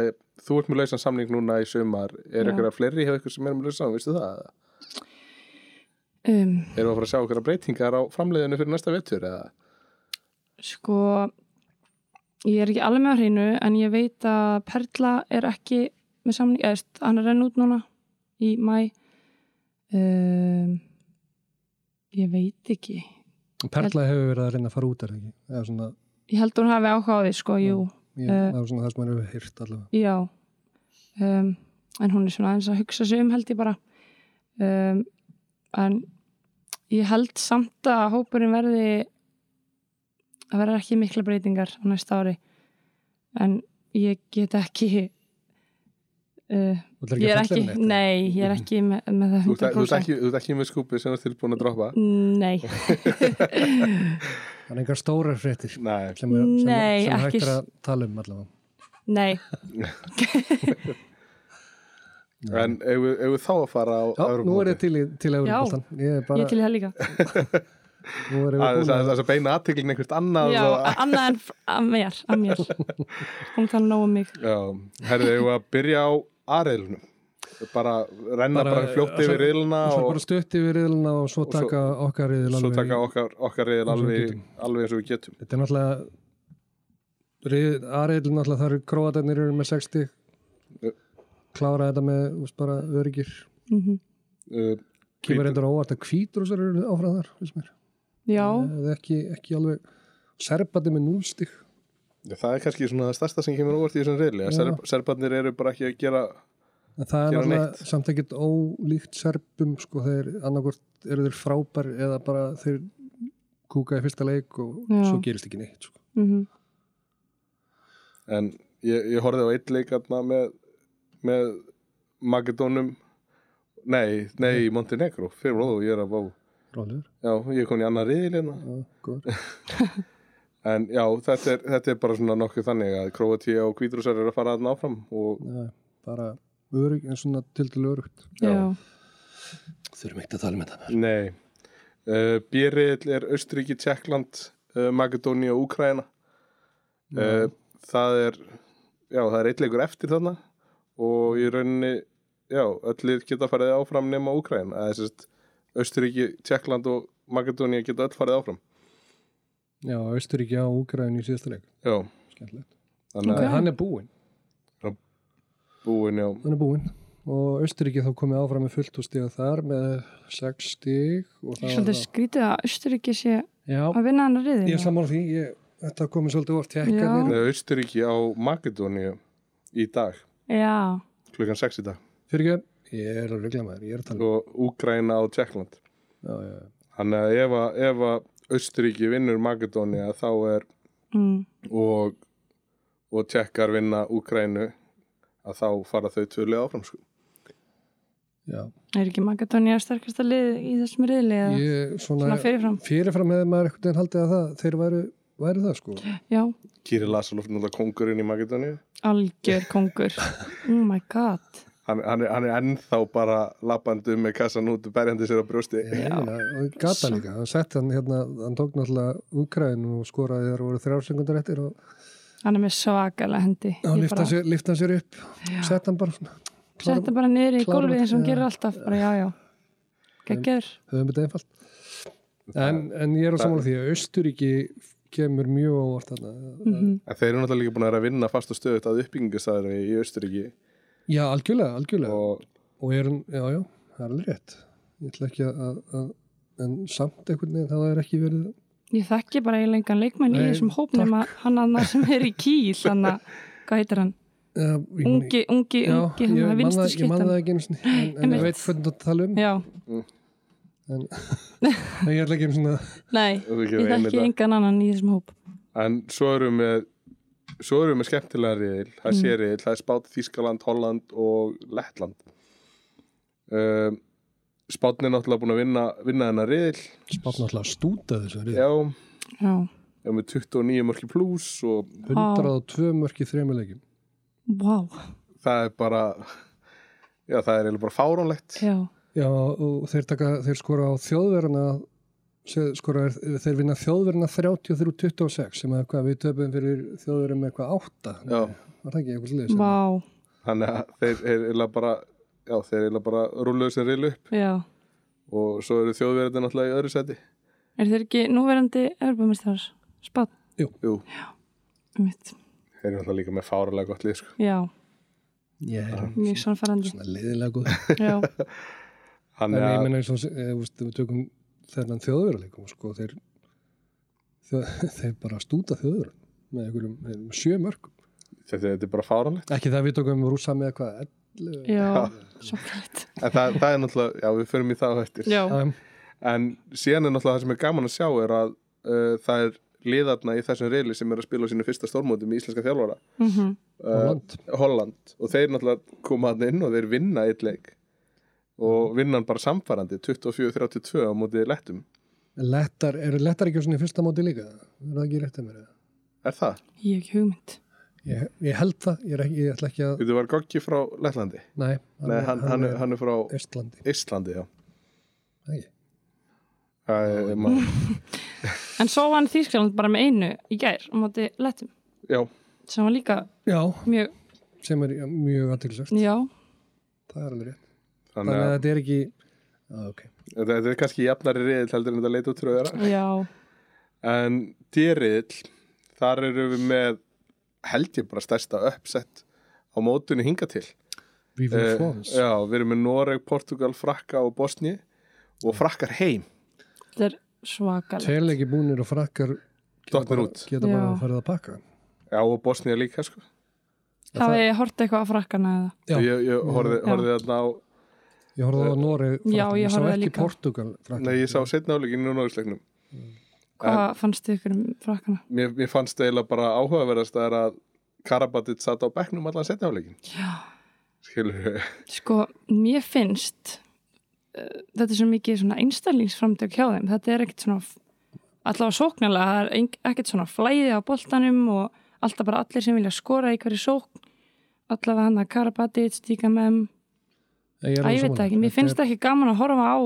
þú ert með lausan samning núna í sumar er
Já.
eitthvað fleiri hjá ykkur sem er með lausan samning, vistu það?
um,
erum við að fara að sjá okkur breytingar á framleiðinu fyrir næsta vettur eða?
Sko, ég er ekki alveg með á hreinu en ég veit að Perla er ekki með samning, eða þú veist, hann er renn út núna í mæ. Um, ég veit ekki.
Perla hefur verið að reyna að fara út er það ekki það er svona,
Ég held að hún hafi áhuga á því, sko, jú,
ég,
Eh.
það, er svona það sem hann hefur hýrt allavega
já. Um, en hún er svona aðeins að hugsa sig um, held ég bara. Um, en ég held samt að hópurinn verði að verða ekki mikla breytingar á næsta ári en ég get ekki uh,
Þú ætlar
ég er
að fella
ekki,
henni neitt, eða?
nei ég er ekki með, með það
Þú ert, þú, ert
100%
ekki, þú ert ekki með skúpið sem þú ert tilbúin að droppa?
nei,
það er engar stórar fréttir sem,
Nei,
sem, er- sem,
Nei,
sem
ekki
hægt er
s-
að tala um allavega
nei
en ef við ef við þá að fara á
Já, nú er ég til, í- til Európoltan Ég er
ég er
bara,
til það líka
nú er ég búin
Það er
að
þess að beina aðteklin einhvert annað
já,
og,
annað en f- að mér að mér, hún tala nóg um mig
já Herðu, ef við að byrja á aðreilunum bara renna
Bara-
bara, fljótt
svo-
yfir reiluna
Svo
og
bara stutti við riðluna og svo
og svo-
taka okkar riðil
svo
alveg
taka
í-
okkar, okkar reil
og svo
alveg,
getum.
alveg eins og við getum
Þetta er náttúrulega rið- A-riðil náttúrulega þar eru króatarnir eru með 60
Já.
Klára þetta með þú veist, bara örgir
uh,
mm
Kýmur
Hvítur-
reyndar á óvart að kvítur og svo eru áfram þar finnst mér.
já,
Það er ekki, ekki alveg Serbandi með 0 stig
Það er kannski svona það stærsta sem kemur óvart í þessum reili að
Já.
serb, serbarnir eru bara ekki að gera
En það er
Gera
náttúrulega
neitt.
samt ekkert ólíkt serbum sko, þeir annarkvort eru þeir frábær eða bara þeir kúka í fyrsta leik og
Já.
svo gerist ekki neitt sko.
mm
en ég, ég horfði á eitt leik hérna með, með Makedónum nei, nei, Montenegro fyrir og ég er að vá
Rálegur,
Já, ég kom í annar riðil hérna
já, góður
En já, þetta er, þetta er bara svona nokkuð þannig að Kroatia og Kvítrúsar eru að fara þarna áfram og
Já, bara örug, en svona til til örugt
Já.
já,
Þurfum ekkert að tala um með það
nei uh, B-riðil er Östuríki, Tjekkland uh, Makedóni og Úkraina uh, Það er já, það er eitleikur eftir þarna og í rauninni já, öllir geta farið áfram nema Úkraina eða sérst, Östuríki, Tjekkland og Makedóni geta öll farið áfram
Já, Austuríki á Úgræðin í síðasta leik
Já,
Skemmtilegt
þannig
okay. Hann er búinn,
að búin, já
hann er búinn og Austuríki þá komið áfram með fullt og stiga þar með 6 stig og það
svolítið skrítið að Östuríki sé
Já,
að vinna hann að riðin
ég er sammála því ég, Þetta komið svolítið hérna. orð
Já.
tekkarnir
Östuríki eh, á Makedóni í dag,
já,
klukkan 6 í dag
Fyrir ekki, ég er að regla maður, ég er að tala um-
og Úkraina og Tjekkland
já, já, já.
þannig að ef að, ef að Östuríki vinnur Makedónia þá er
mm,
og, og Tjekkar vinna Úkrainu að þá fara þau tvölega áfram sko.
Já,
er ekki Magatónia sterkasta lið í þessum riðli eða
ég svona
svona fyrirfram
fyrirfram hefði maður einhvern veginn haldið að það þeir væru, væru það sko
já,
Kýri Lasalof náttúrulega kongurinn í Makedónia
algjör kongur oh my god
hann, hann, er, hann er ennþá bara lappandi með kassan út og berjandi sér á brjósti
Ég meina, og gata líka, hann sett hann hérna hann tók náttúrulega Ukraín og skoraði þegar voru þrjársengundur eftir og
hann er með svakalega hendi
Já,
Ég
lifta
bara-
hann sér, lyfti hann sér upp,
Já.
setta hann bara svona. klára-
setta bara niður í
klára
gólfið eins og hún
þetta,
gerir alltaf bara já, já, geggjör
höfum þetta einfalt. En, en ég er á
Það-
samanlega því að Östuríki kemur mjög ávart þarna.
Mhm.
En þeir eru náttúrulega líka búin að vera að vinna fast og stöðut að uppbyggingastæðri í Östuríki
Já, algjörlega, algjörlega.
og
Og er hann, já, já, það er alveg rétt. Ég ætla ekki að, að en samt einhvern veginn, það er ekki verið
ég þekki bara eiginlega engan leikmann í
Nei,
þessum hópnum að hann annar sem er í kýl hann að, hvað heitir hann
uh,
ungi, ungi,
já,
ungi,
ég
hann
man
að
það- Ég
vinstu
man það
skittan
ekki einu sinni, en, en
Einmitt.
ég veit hvernig þú ert að tala um.
já,
En ég ætla ekki um svona,
nei,
Þú ekki
ég
verið einmitt
þekki
að-
engan annan í þessum hóp
en svo eru með svo eru með skemmtilega riðil það er
Mm.
sér riðil, það er Spát, Þískaland, Holland og Lettland um, Spátn er náttúrulega búin að vinna, vinna hennar riðil
spátt náttúrulega stúta þessu. riðli.
já,
já,
er með 29 mörki pluss og
102 mörk í þremur leikjum.
vá,
það er bara já, það er eiginlega bara fáránlegt
já
Já, og þeir, taka, þeir skora á þjóðverðina skora, þeir vinna þjóðverðina 33-26 sem að hvað við töpum fyrir þjóðverðum með eitthvað 8
já,
var það ekki eitthvað sliðis
Vá,
þannig að þeir er eiginlega bara já, þeir er eiginlega bara rúluðu sem riðil upp
já.
og svo eru þjóðverðin náttúrulega í öðru seti
Er þeir ekki núverandi erbjörnmestrar? Spad,
Jú,
mitt.
þeir eru náttúrulega líka með fáránlega gott lið sko.
Já,
ég er
mjög sannfærandi.
svona liðilega góð
Já,
en
þannig
ég
að
menna eins og e, veist, við tökum þennan þjóðverðarleikum sko, þeir, þeir, þeir bara stúta þjóðverðin með einhverjum með sjö mörg
þetta þetta er bara fáránlegt
ekki það við tökum rúsa með eitthvað 11
já, svo klætt.
En það, það er náttúrulega, já við förum í það á eftir
Já,
Já,
En síðan er náttúrulega það sem er gaman að sjá er að uh, það er liðarna í þessum reyli sem er að spila á sínu fyrsta stórmótum í íslenska þjálfara
mm
uh,
Holland.
Holland og þeir náttúrulega koma hann inn og þeir vinna eitt leik og vinna hann bara samfærandi 24-32 á mótið lettum
lettar, eru lettar ekki á svona í fyrsta móti líka er það ekki rétt að mér eða?
Er það?
ég hef ekki hugmynd.
Ég, ég held það, ég, er ekki, ég ætla ekki að
Þetta var Goggi frá Lettlandi
Nei, hann,
Nei, hann, hann, er-
er
hann er frá
Östlandi
Íslandi, já
ekki.
Það er, maður,
En svo vann Þýskaland bara með einu í gær á móti Lettum,
já,
sem var líka
Já,
mjög,
sem er ja, mjög aðtilsvært
já,
Það er alveg rétt
þannig
Þannig að
að
þetta er ekki Já, ok
þetta þetta er kannski jafnari reyðil heldur en þetta leita út tröðara
já,
En dýriðill, þar eru við með held ég bara stærsta uppsett á mótunni hinga til.
Viva uh, France
Eh, já, við erum með Noreg, Portugal, Frakka og Bosni og Frakkar heim.
þetta er svakalegt.
Tel ekki búnir og frakkar geta
Dottnir
bara-
út.
Geta bara
Já.
að fara að pakka
Já, og Bosni líka, sko.
Hafið þið hort eitthvað á frakkana eða?
Já,
Ég, ég horfði, horfði þarna á,
ég horfði á Nóri
Já, ég horfði
Sá ekki
líka.
Portugal frakkar
nei, ég sá setna áleikinu í Noregsleiknum.
Hvað fannst þið ykkur um frakkana?
Mér, mér fannst eiginlega bara áhugaverðast að er að Karabatit satt á bekknum allan setna áleikin.
Já.
Skilur við.
Sko, mér finnst uh, þetta er svo mikið svona einstælingsframtök hjá þeim, þetta er ekkert svona allavega sóknarlega, það er eng- ekkert svona flæði á boltanum og alltaf bara allir sem vilja skora í hverju sókn allavega hann að Karabatic, Stíka Mem
Ég,
að ég veit það ekki, mér finnst það ekki gaman að horfa á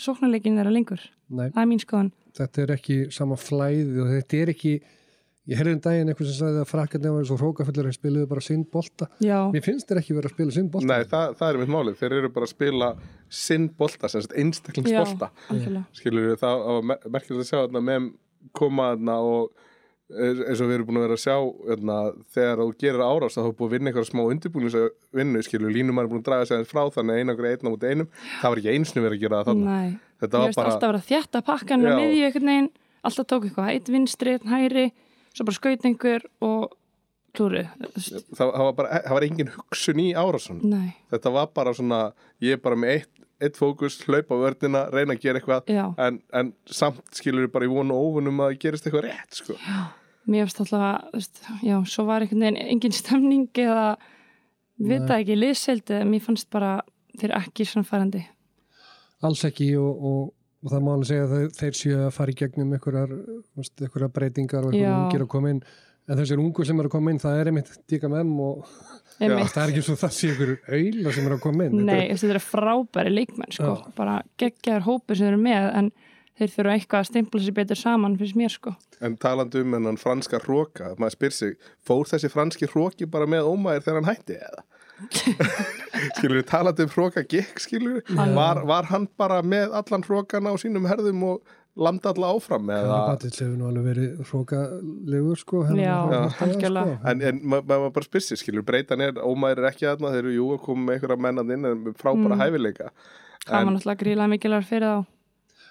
sóknarleikin þeirra lengur,
Nei,
það er mín skoðan
þetta er ekki sama flæði og þetta er ekki Ég heyrði um daginn einhvern sem sagði að frakkarnir var svo hrókafullir að spiluðu bara sinn bolta.
Já,
Mér finnst þeir ekki vera að spila sinn bolta.
Nei, það, það er mitt málið. Þeir eru bara að spila sinn bolta, sem sagt
já,
einstaklingsbolta.
algjörlega
skilur við það var me- merkilegt að sjá þarna með koma þarna og eins eins og við erum búin að vera að sjá þarna, þegar þú gerir árás þá er búin að vinna einhverja smá undirbúningsvinnu skilur, línum er búin að draga sér aðeins frá þannig einangur einna út einum, það var ekki einsnum verið að gera það þarna,
Nei,
þetta
það
var
veist
bara
alltaf verið að þjætta pakkan og
Já.
miðju einhvern veginn, alltaf tók eitthvað eitt vinstri, einn hægri, svo bara skaut einhver og klúru
það, það var bara, það var engin hugsun í árásun,
Nei,
þetta var bara svona ég er bara með eitt, eitt fókus hlaupa vördina, reyna að gera eitthvað
já,
en, en samt skilur við bara í vonu og óvunum að það gerist eitthvað rétt sko.
mér finnst alltaf að þú veist, já, svo var einhvern veginn engin stemning eða við það ekki liðseldi, mér fannst bara þeir ekki sannfærandi
alls ekki og, og, og það má alveg segja að þeir, þeir séu að fara í gegnum einhverjar, veist, einhverjar breytingar og einhverjar
Já.
ungir að koma inn en þessir ungu sem eru að koma inn það er einmitt díka með þeim og
Einmitt.
það er ekki svo það sé einhverjur auðla sem eru að koma inn
Nei, þú veist, þetta er frábæri leikmenn sko,
Já.
bara geggjaður hópur sem þeir eru með en þeir þurfa eitthvað að stimpla sér betur saman finnst mér sko
En talandi um hennan franska hróka, maður spyr sig, fór þessi franski hróki bara með ómæður þegar hann hætti eða? skilur við talandi um hróka gekk, skilur við? Var, var hann bara með allan hrókan á sínum herðum og landa alla áfram eða?
Batits hefur nú alveg verið hrókalegur sko hérna
Já,
á hrókastaða,
algjörlega.
sko.
En, en ma- maður ma bara spyr sig, skilur, breytan er, ómæður er ekki aðna, þeir eru jú að koma með einhverja mennan inn en með frábæra
Mm.
hæfileika.
hann var náttúrulega gríðlega mikilvægur fyrir þá og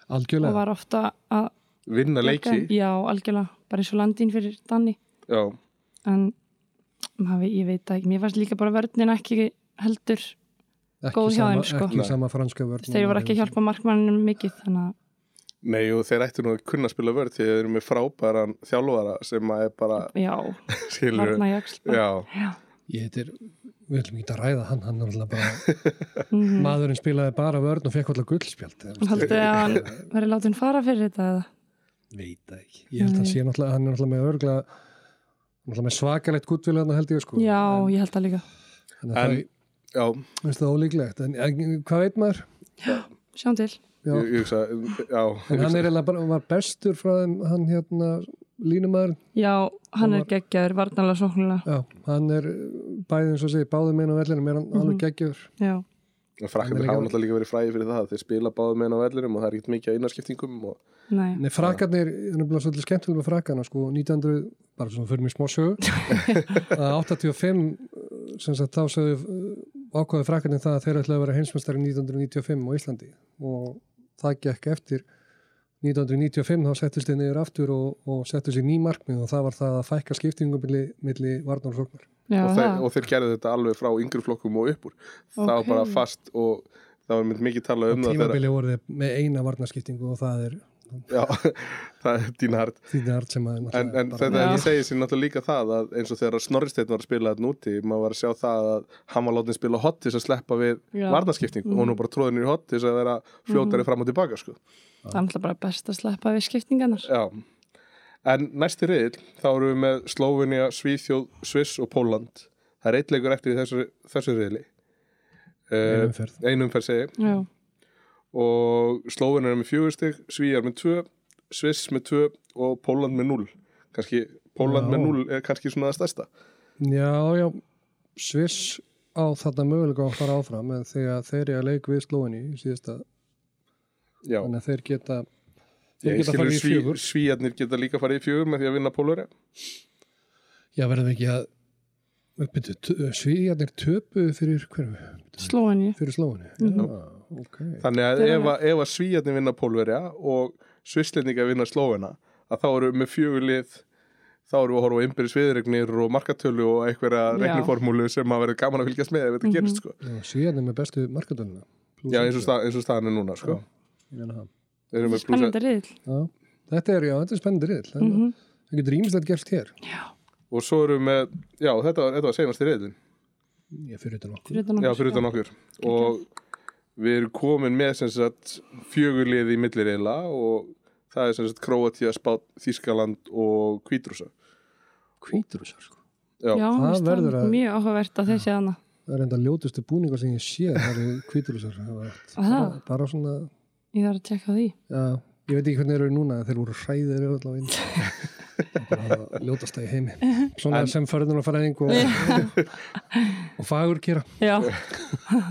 Algjörlega
var ofta að
Vinna
bjarga þeim.
leiki,
já, algjörlega, bara eins og landín fyrir Danni
já,
en maður, ég veit það ekki, mér fannst líka bara vörnin ekki heldur
ekki
góð hjá
sama,
þeim, sko.
ekki
Nei.
sama franska vörn
þeir voru ekki að hjálpa markmanninu mikið þannig
nei og þeir ættu nú að kunna spila vörð því að þeir eru með frábæran þjálfara sem að er bara,
að já,
skilur
varna í axl bara.
Já,
já,
Ég heitir, við ætlum ekki að ræða hann, hann er alltaf bara,
mhm.
maðurinn spilaði bara vörn og fekk alltaf gullspjald. eða, veist,
haldið þið að hann verið látið fara fyrir þetta eða?
ég Veit það ekki. Ég held að hann sé náttúrulega, hann er náttúrulega með örgla, náttúrulega með svakalegt guttvilið hann held ég sko.
já, ég held það líka
En, en,
En- já,
það, veist það ólíklegt, en, en hvað veit maður?
sjáum til,
Já,
ég, ég hugsa, já,
en
ég
hann
hugsa
er eiginlega bara, hann var bestur frá þeim, hann hérna, línumæður,
já, hann
Hann
er geggjaður varnalega sóknulega,
já, hann er bæðið eins og segir, báðum einu á vellinum, er hann alveg geggjur.
já,
en
hann
frakkandir
er
hafa
líka-
náttúrulega líka verið fræði fyrir það þeir spila báðum meðan á vellinum og það er ekkert mikið að innarskiptingum og
nei
Nei, frakarnir, hann er bara svolítið skemmtilega með frakarna, sko, 1900, bara svona fyrir mér smá sögu, að 85, sem sagt, þá sögðu uh, ákvaðu frakarnir það að þeir ætlaði að vera heimsmeistari 1995 á Íslandi og það gekk eftir 1995, þá settist þeir niður aftur og, og settist sér ný markmið og það var það að fækka skiptingum milli, milli varnar og sóknar.
já,
og, þeir,
það,
og þeir gerðu þetta alveg frá yngri flokkum og upp úr það var
Ok.
bara fast og það var mynd mikið talað um það þegar,
Tímabili voru þeir með eina varnarskiptingu og það er
já, það er dín hart
þýðin hart sem að
en, en
bara-
þetta
Já.
ég segi sér náttúrulega líka það að eins og þegar Snorristeinn var að spila þetta núti maður var að sjá það að hann var látið að spila hot til þess að sleppa við
Já.
varnaskiptingu og nú bara tróðinu í hot til þess að vera fljótari fram og tilbaka sko.
það er alltaf bara best að sleppa við skiptingarnar
Já. En næsti riðil, þá erum við með Slóvinia, Svíþjóð, Sviss og Póland. Það er eitt leikur eftir í þessu, þessu riðli.
Einu
Uh,
umferð.
einum fer segi.
já,
Og Slóvinia er með fjögustig, Svíjar með tvö, Sviss með tvö og Póland með núl. Kanski,
Já.
Póland með núl er kannski svona það stærsta.
Já, já, Sviss á þarna mögulega að fara áfram en þegar þeir eru að leik við slóinni síðasta,
Já,
þannig að þeir geta þeir
ég
geta
skilur
farið í
sví,
fjögur
Svíjarnir geta líka farið í fjögur með því að vinna Pólari.
Já, verðum við ekki að uppbyrðu, tö- svíjarnir töpu eh, fyrir hverju,
slóin ég
fyrir slóinni
Mhm.
Já, ok
Þannig að
Þeir
ef, að- ef að Svíjarnir vinna Pólverja og Svisslendinga vinna Slóvena að þá eru við með fjögulið þá eru við að horfa á innbyrðis viðregnir og markatölu og einhverja
Já.
regluformúlu sem að verður gaman að fylgjast með ef þetta gerist sko.
Já, Svíjarnir með bestu markadöluna
Já, eins og, stað, eins og staðan er núna sko.
Já,
Þeir eru með plúsa,
spennandi riðil,
þetta er, já, þetta er spennandi riðl þannig
Mhm.
að Það getur ímislegt gerst hér
og svo eru við með já, þetta, var- þetta var seinast í reyðin
Ég fyrir utan okkur
fyrir utan
já,
okkur,
fyrir utan okkur og við erum komin með sem sagt fjögulið í millir eila og það er sem sagt Króatíu, Spát, Þískaland og Kvítrúsa
Hvítrúsar, sko
Já,
já,
Það
það
verður
verður
að-
mjög áhugavert að þessi hana
Það er enda ljótustu búningar sem ég sé það eru hvítrúsar það var allt.
Aha.
bara, bara svona,
ég þarf að tjekka á því
já, ég veit ekki hvernig þeir eru núna þeir voru hræðir allavega inn bara það ljótasta í heimi svona sem förðunarfæðing og, og fagur kýra
já,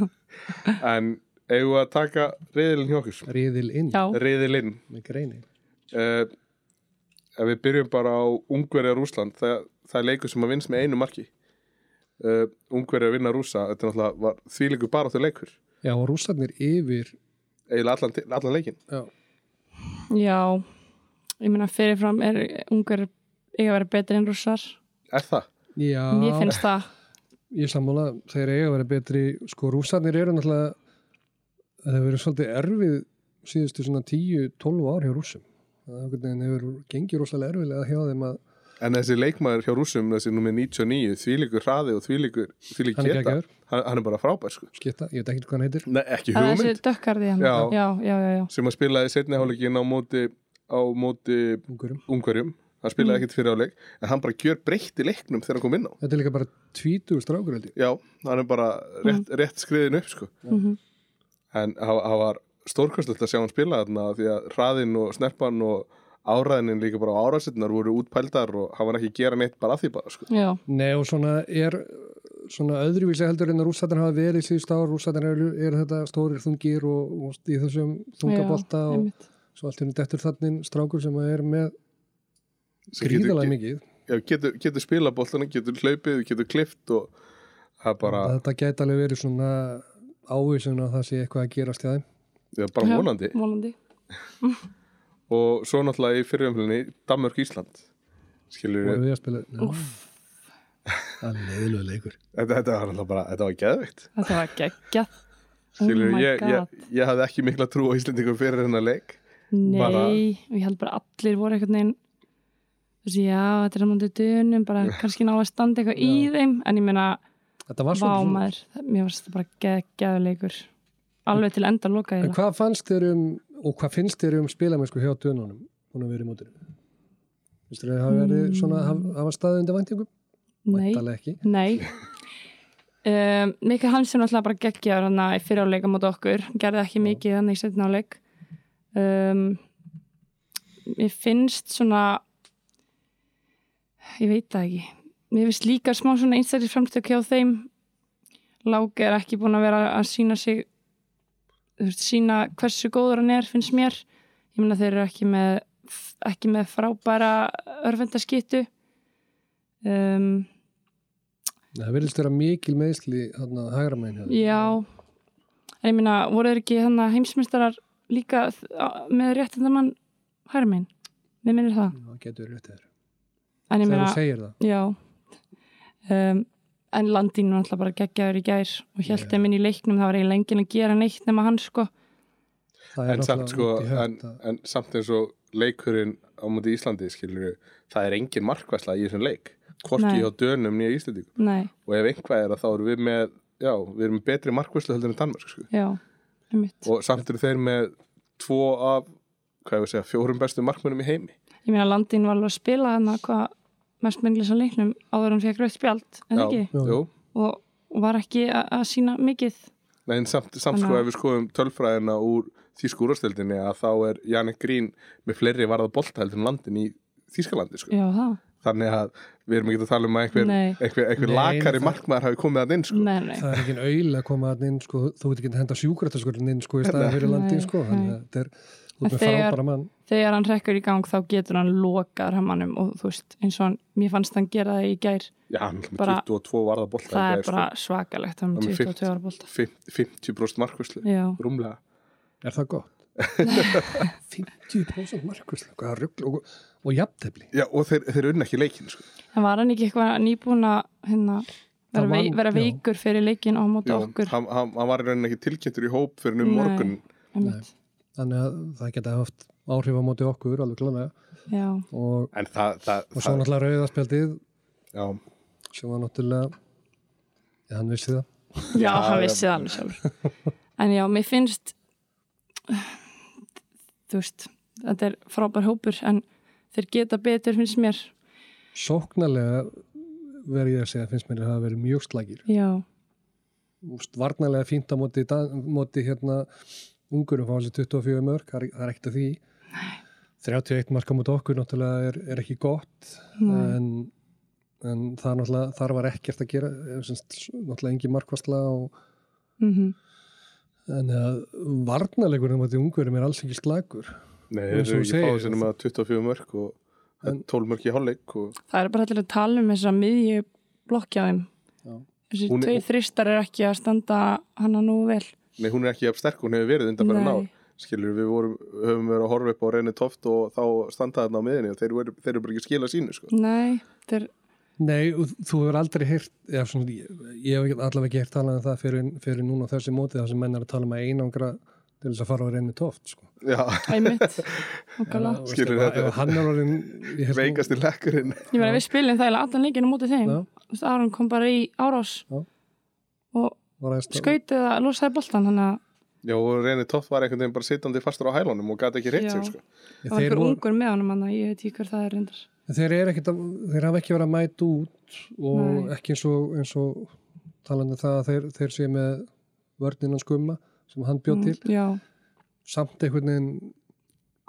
en eigum við að taka reyðilin hjá okkur
riðil inn
já,
reyðilinn
með greini
uh, ef við byrjum bara á Ungverja Rúsland það, það er leikur sem að vinst með einu marki uh, Ungverja vinna Rúsa þetta er náttúrulega var þvíleikur bara áttu leikur
já og rússarnir yfir
eiginlega allan, til- allan leikin
já,
já ég meina fyrirfram er ungar eiga að vera betri en rússar
er það?
já
mér finnst það
ég sammála þeir eiga að vera betri sko rússarnir eru náttúrulega það hefur verið svolítið erfið síðustu svona 10-12 ár hjá rússum það einhvern veginn hefur gengið rosalega erfilega hjá þeim að
en þessi leikmaður hjá Rúsum þessi nummer 99 þvíleikur hraði og þvíleikur þvíleik
Hann er
geta hann,
geggjaður.
hann er bara frábær sko
skita, ég veit ekki hvað hann heitir
Nei, ekki
það er þessi
hugmynd
dökkarði hann
Já.
já, já, já, já.
sem að spilaði setni hálfleikin á móti á móti
Ungurum.
Ungverjum hann spilaði ekkert fyrir áleik en hann bara gjör breytti leiknum þegar hann kom inn á
Þetta er líka bara tvítur strákur held ég.
Mhm,
Já, hann er bara rétt, rétt skriðin upp sko. en hann, hann var stórkostlegt að sjá hann spila þarna því að hraðinn og snerpan og áraðinin líka bara á áraðsetnar voru útpældar og hann var ekki að gera neitt bara að því bara sko.
já,
Nei og svona er svona öðruvísi heldur en að rússættan hafa verið síðust ár, rússættan er, er þetta stórir þungir og, og í þessum þungabolta
já,
og
einmitt.
svo allt hérna dettur þannig strákur sem er með
Sem getur-
gríðalega mikið
Já, getur, getur spila bóltana, getur hlaupið, getur klift og það er bara,
þetta gæti alveg verið svona ávísun að það sé eitthvað að gerast hjá þeim
það er bara
Já,
vonandi
vonandi.
og svo náttúrulega í fyrirumhlinni Danmörk Ísland skilur
og
við,
við að spila Nei. það er leiðilega leikur
þetta, þetta var náttúrulega bara, þetta var geðveikt
þetta var geggjað oh
skilur
my
ég,
god,
ég, ég hafði ekki mikla trú á Íslendingum fyrir hennar leik
nei
bara-
og ég held bara allir voru einhvern veginn þú veist, já, þetta er á mútið dönum bara kannski ná að standa eitthvað í
Já.
þeim en ég meina,
þetta var
vá
svona
maður mér varst þetta bara geggjaðu leikur alveg til enda loka
en
ég
hvað fannst þér um og hvað finnst þér um spilamennsku hjá dönunum hún að vera í mótinu finnst þér að það hafa verið svona hafa, hafa staðið undir væntingum?
Mm. nei,
Væntanlega ekki
Nei um, Mikael Hansen alltaf bara geggjaður hann í fyriráleika mót okkur gerði ekki mikið hann í setnáleik um, Mér finnst svona ég veit það ekki Mér finnst líka smá svona einstakir framstök hjá þeim Láki er ekki búin að vera að sína sig þú veist, sína hversu góður hann er finnst mér ég meina þeir eru ekki með ekki með frábæra örvendaskýttu um,
það verðist vera mikil meðsli hann að hægra hérna. meginn hjá þeim.
Já, en ég meina, voru þeir ekki þannig heimsmyndstarar líka þ- á- með réttindamann hæra minn? Við minnir það.
það getur rétt þér
En ég
þegar
meina,
þú segir það
já, um, en landínu náttúrulega bara geggjaður í gær og held
Já.
þeim inn í leiknum, það var eiginlega enginn að gera neitt nema hann sko.
það
en samt, sko,
út í hött
en,
að-
en samt eins og leikurinn á múti Íslandi skilur við, það er engin markvæsla í þessum leik
Nei.
hvorki hjá dönum nýja Íslandingum
Nei,
og ef einhvað er að þá erum við með já, við erum með betri markvæsla heldur en Danmörk sko.
já, einmitt.
og samt eru þeir með tvo af, hvað ég að segja, fjórum bestu markmönnum í heimi
Ég meina, landín var alveg að spila þannig hvað mest menglis á leiknum áður en fekk rauð spjald, en
Já,
ekki?
jú.
Og og var ekki a- að sína mikið.
Nei, en samt, samt
Þannig
sko
að-
ef við skoðum tölfræðina úr þýskúrastöldinni að þá er Janek Grín með fleiri varða bolta heldur en landin í Þýskalandi sko.
Já, það.
þannig að við erum ekki að tala um að einhver,
Nei.
einhver, einhver
Nei,
lakari
það-
markmaður hafi komið að inn sko.
Nei, nei.
það er ekki auðl að koma að inn sko, þú veit ekki að henda sjúkrataskurinn inn sko, í staðan fyrir landin
Nei,
sko, þannig að þetta er út með
Þegar-
frábæra mann
þegar hann rekkur í gang þá getur hann lokað rammanum og þú veist eins og hann, mér fannst hann gera það í gær
Já, hann er með
Bara-
22 varða bolta
það, er bara svakalegt hann
Hann
er
er
22 ára bólta
sko, Fimm- 50% markvæslu
já,
rúmlega
er það gott? 50% markvæsla, hvað rugl og, og jafntefli
Já, og þeir, þeir unna ekki leikin sko.
en var hann ekki eitthvað nýbúin að hérna,
Það
vera,
var-
vei, vera
já.
veikur fyrir leikin á móti
Já,
okkur
hann, hann, hann var í rauninni ekki tilkynntur í hóp fyrir um
Nei.
morgun
einmitt.
þannig að það geta haft áhrif á móti okkur alveg klálega
já,
og,
en það, það,
og svo náttúrulega rauðaspjaldið
já,
sem var náttúrulega ja, hann vissi það
já,
Já,
hann
já.
vissi það alveg sjálf en já, mér finnst þú veist þetta er frábær hópur en þeir geta betur finnst mér
sóknarlega verið ég að segja finnst mér að það hafa verið mjög slækir
já,
varnarlega fínt á móti, Dan- móti hérna ungurum fá þessi 24 mörg, það er- það er ekkert að því 31 marka móti okkur náttúrulega er, er ekki gott
Nei.
en, en það er náttúrulega þar var ekkert að gera eh, sem sagt, s- náttúrulega engin markvastla og
mhm
en að varnarleikurinn á móti ungurum er alls ekki slagur
nei,
Eins og
þeir eru
þú
ekki fáið
segir,
sinni með 24 mörg og
En-
12 mörg í hálfleik og
Það er bara allir að tala um þess að miðju blokkja þeim.
Já.
Þessi
Hún er-
tvei þristar er ekki að standa hana nú vel.
Nei, hún er ekki jafn sterk, hún hefur verið undanfæra
Nei.
ná. Skilur, við vorum, höfum verið að horfa upp á reyni toft og þá standa þarna á miðinni og þeir eru, þeir eru bara ekki að skila sínu, sko.
Nei, þetta er,
Nei, og þú hefur aldrei heyrt, eða svona, ég, ég hef ekki- allavega ekki heyrt talað um það fyrir, fyrir núna á þessi móti þar sem menn er að tala um að einangra til þess að fara á reyni tóft sko.
Já,
æmitt, okkala.
Þú veist,
Skilur
ef-
þetta.
ef hann er orðin ég held nú-
veikast í lekkurinn.
Ég verði að við spilum það eða allan leikinu mútið þeim.
Já.
Þú veist, Aron kom bara í árás
Já.
og
var aðeins-
skautið að losaði boltan hann að
Já, og reyni toft var einhvern veginn bara sittandi fastur á hælunum og gæti ekki reynt sig,
Já.
sko.
Þeir,
það var einhver
voru-
ungur með honum hann að ég veit ekki hver það er reyndar.
þeir, eru ekkert að, þeir hafa ekki verið að mæta út og
Nei.
ekki eins og, eins og um
Mm.
talandi það að þeir, þeir sé með vörninn hans gumma sem hann bjóð til
Já,
samt einhvern veginn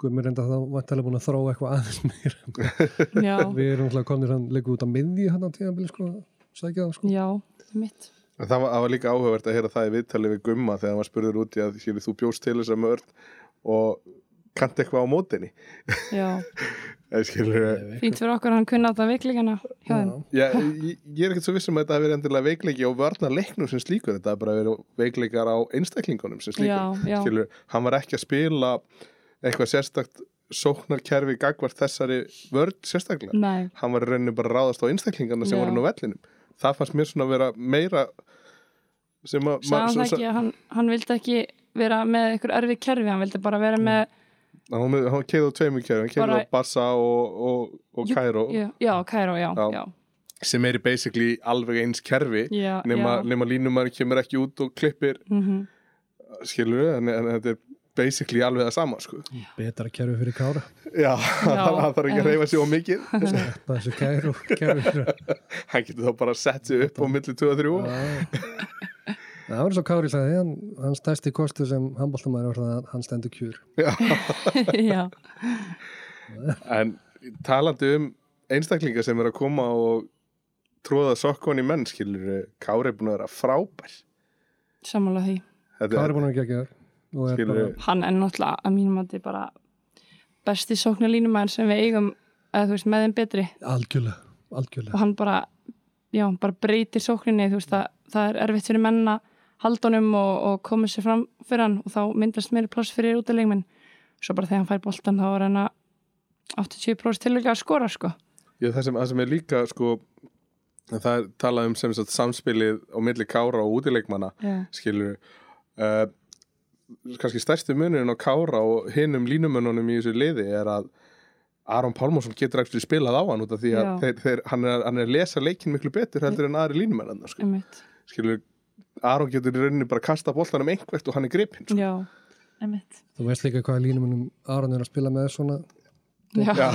Guðmur enda þá vantilega búin að þróa eitthvað aðeins meira.
já,
Við erum alltaf komnir hann leikur út að miðji hann á tíðanbili sko, sækja það sko.
já, það er mitt
En það var, það var líka áhugavert að heyra það í viðtalið við Gumma þegar hann var spurður út í að skilur þú bjóst til þess að mörd og kannt eitthvað á mótinni.
já,
Eða skilur,
fínt fyrir okkur að hann kunna á það veikleikana hjá þeim
ég, ég, ég er ekkert svo vissum að þetta hafi verið endilega veikleiki og varna leiknum sem slíkur, þetta hafi bara verið veikleikar á einstaklingunum sem slíkur.
Já, já.
Skilur, hann var ekki að spila eitthvað sérstakt sóknarkerfi gagvart þessari vörd sérstaklega.
nei,
hann var í rauninu bara að ráðast á einstaklingarna sem
Já.
voru nú vellinum það fannst mér svona að vera meira sem að
sagði hann það ekki að hann, hann vildi ekki vera með ykkur erfið kerfi, hann vildi bara
Mm.
vera með
hann, hann keið á tveimur kæru, hann keið
Bara-
á Barça og, og, og
Jú,
Kæró
já, já, Kæró, já,
Já.
já,
sem er í basically alveg eins kerfi
já,
nema,
já.
nema línumæri kemur ekki út og klippir
Mhm.
skilur við, en, en þetta er basically alveg það sama sko.
Betra kerfi fyrir Kára.
já, hann þarf ekki að
en-
reyfa sér á mikið
Sleppa þessu kæru kerfi fyrir.
hann getur þá bara að setja sig upp á milli 2-3
Já. Það var svo Kári sagði, hann, hann stærsti kostu sem handbóltamæður var það að hann stendur kjur.
já,
En talandi um einstaklingar sem er að koma og tróða sokkon í menn, skilur Kári er búin að vera frábær
samanlega því
Þetta
Kári
er,
búin að gegja þér. Og er bara,
skilur,
hann er náttúrulega að mínum að þetta er bara besti sóknarlínumæður sem við eigum eða þú veist, með þeim betri
algjörlega,
og
algjörlega.
hann bara, já, hann bara breytir sókninni, þú veist, það, það er erfitt fyrir menna haldunum og, og komið sér fram fyrir hann og þá myndast meiri pláss fyrir út af leikminn, svo bara þegar hann fær boltan þá er hann að 80% tilöka að skora, sko
ég, það, sem, það sem er líka sko, það er talað um sem sagt samspilið á milli Kára og útileikmanna
já,
skilur uh, kannski stærsti munurinn á Kára og hinum línumönnunum í þessu liði er að Aron Pálmarsson getur ekki spilað á hann út af því að
Já.
þeir, þeir, hann, er, hann er að lesa leikin miklu betur heldur en aðri línumennarna sko.
einmitt
skilur, Aron getur í rauninni bara kasta boltanum einhvert og hann er gripinn sko.
já, einmitt
Þú veist líka hvað línumunum Aron er að spila með svona,
já, já,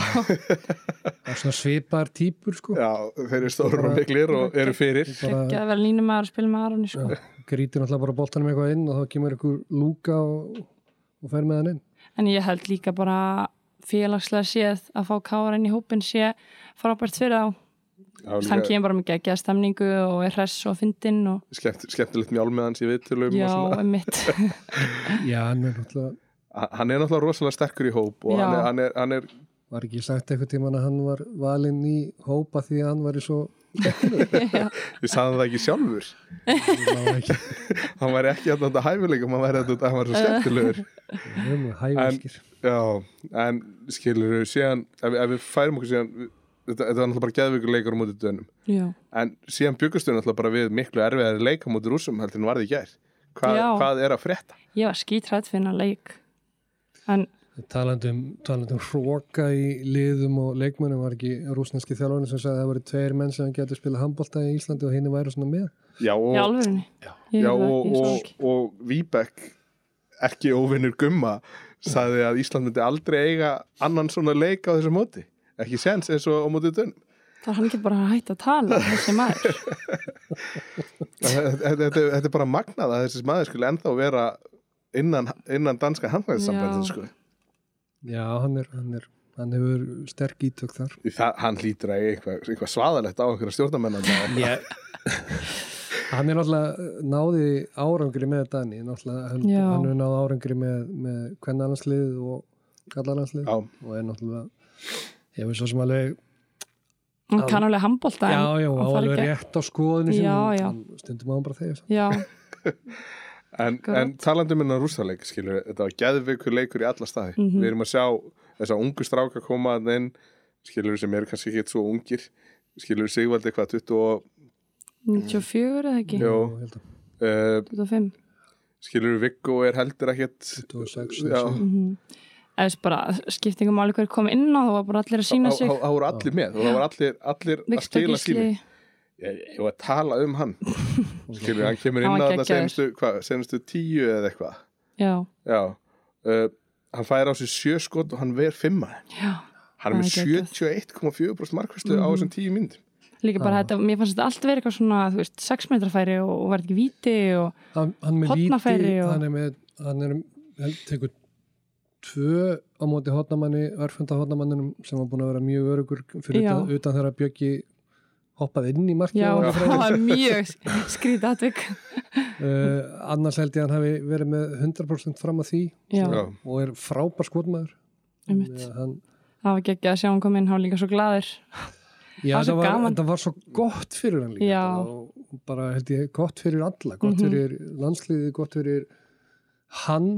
svona svipar típur sko.
Já, þeir eru stóru og miklir og eru fyrir
Bara-
ekki að vera línumæður að spila með Aroni, sko
grítir náttúrulega bara boltanum eitthvað inn og þá kemur ykkur lúka og, og fer með hann inn
En ég held líka bara félagslega séð að fá Kára inn í hópin sé frábært fyrir þá.
Já,
Líka...
líka
Hann kemur bara með geggjað stemningu og er hress og fyndinn og
skemmt, skemmtilegt mjál með hans í viðtölum Um
já,
og svona.
emitt.
Já, hann er náttúrulega,
H- Hann er náttúrulega rosalega sterkur í hóp og
Já.
hann er, hann, er, hann er
var ekki sagt eitthvað tíman að hann var valinn í hópa því að hann var í svo
við sagðum það ekki sjálfur
hann var ekki
hann væri ekki að þetta hæfileikum hann væri að þetta, hann væri svo skemmtilegur
um, hæfiskir
Já, en skilur við síðan ef, við- ef við færum okkur síðan við- þetta, þetta var náttúrulega bara geðveikur leikur á móti dönum
já.
en síðan byggustu náttúrulega bara við miklu erfiðari leika móti rússum heldur en varði í gær Hva,
Já.
hvað er að frétta?
Ég var skítrætt fyrir hennar leik. En
talandum, talandum hróka um í liðum og leikmönnum var ekki rúsneski þjálfarnir sem sagði að það voru tveir menn sem getur spilað handbolta í Íslandi og henni væri svona með
Já, og,
í alvörunni. Já,
Já, og, og, og Víbek, ekki óvinnur gumma, sagði að Ísland myndi aldrei eiga annan svona leik á þessu móti. Ekki séns eins og á móti dönum.
Það er hann ekki bara að hætta að tala, þessi maður.
Þetta þetta- þetta er bara magnað að þessi maður skulle ennþá vera innan, innan danska handlæðissambandið,
Já.
sko.
Já, hann er, hann er hann hefur sterk ítök þar
Því Það, hann hlýtur að eiga eitthvað, eitthvað svaðalegt á einhverja stjórnarmennan.
Já Hann er náttúrulega náði árangri með Dani, náttúrulega hann,
Já.
hann er náði árangri með, með kvennarlandslið og kallarlandslið
Já.
og er náttúrulega hefur svo sem alveg,
Hann kann alveg handbólta.
já, já, á alveg rétt á skoðinu
Já, já.
og stundum á hann bara þegar
Já,
En, en talandi um hennar rústaleik, skilur, við, þetta var geðveikur leikur í alla staði.
Mhm.
Við erum að sjá þess að ungu stráka koma að inn, skilur, við, sem eru kannski ekki svo ungir, skilur, við, Sigvaldi hvað, 20 og
94 eða ekki?
Jó,
Ég held að
uh,
25.
skilur Viggo er heldur ekkert
26,
Já,
27.
Eða þess bara skiptingum alveg hver kom inn á það var bara allir að sína
þá-
sig.
þá- þá voru allir með og það voru allir, allir að
Viktor
skila sínu
Gísli,
ég, ég var að tala um hann skilur, hann kemur inn
Hann
á
var
þetta
geggjaður.
senustu, hva, senustu tíu eða eitthvað
já,
já, uh, hann fær á sig sjö skot og hann ver fimma
já.
hann er með
Það er geggjað.
71,4% markvæslu á þessum tíu myndum
Líka bara þetta, mér fannst þetta allt verið eitthvað svona, þú veist, 6 metrafæri og, og verði ekki víti og
hann, hann með líti
Hornafæri og-
hann er með, hann er, held, tekur tvö á móti hotnamanni, örfunda hotnamanninum sem var búin að vera mjög örugur fyrir
Já.
utan, utan þegar Bjöggi hoppaði inn í markið
Já,
og var að
það
fræða.
var mjög skrítið atvik.
uh, annars held ég að hann hafi verið með 100% fram að því
Já,
Já.
og er frábær skotmaður
einmitt.
Já, hann,
Það var geggjað að sjá hann kom inn, hann var líka svo gladur.
já,
var svo
það, var,
gaman.
það var svo gott fyrir hann líka
Já. Mhm.
og bara held ég gott fyrir alla, gott fyrir landsliðið gott fyrir hann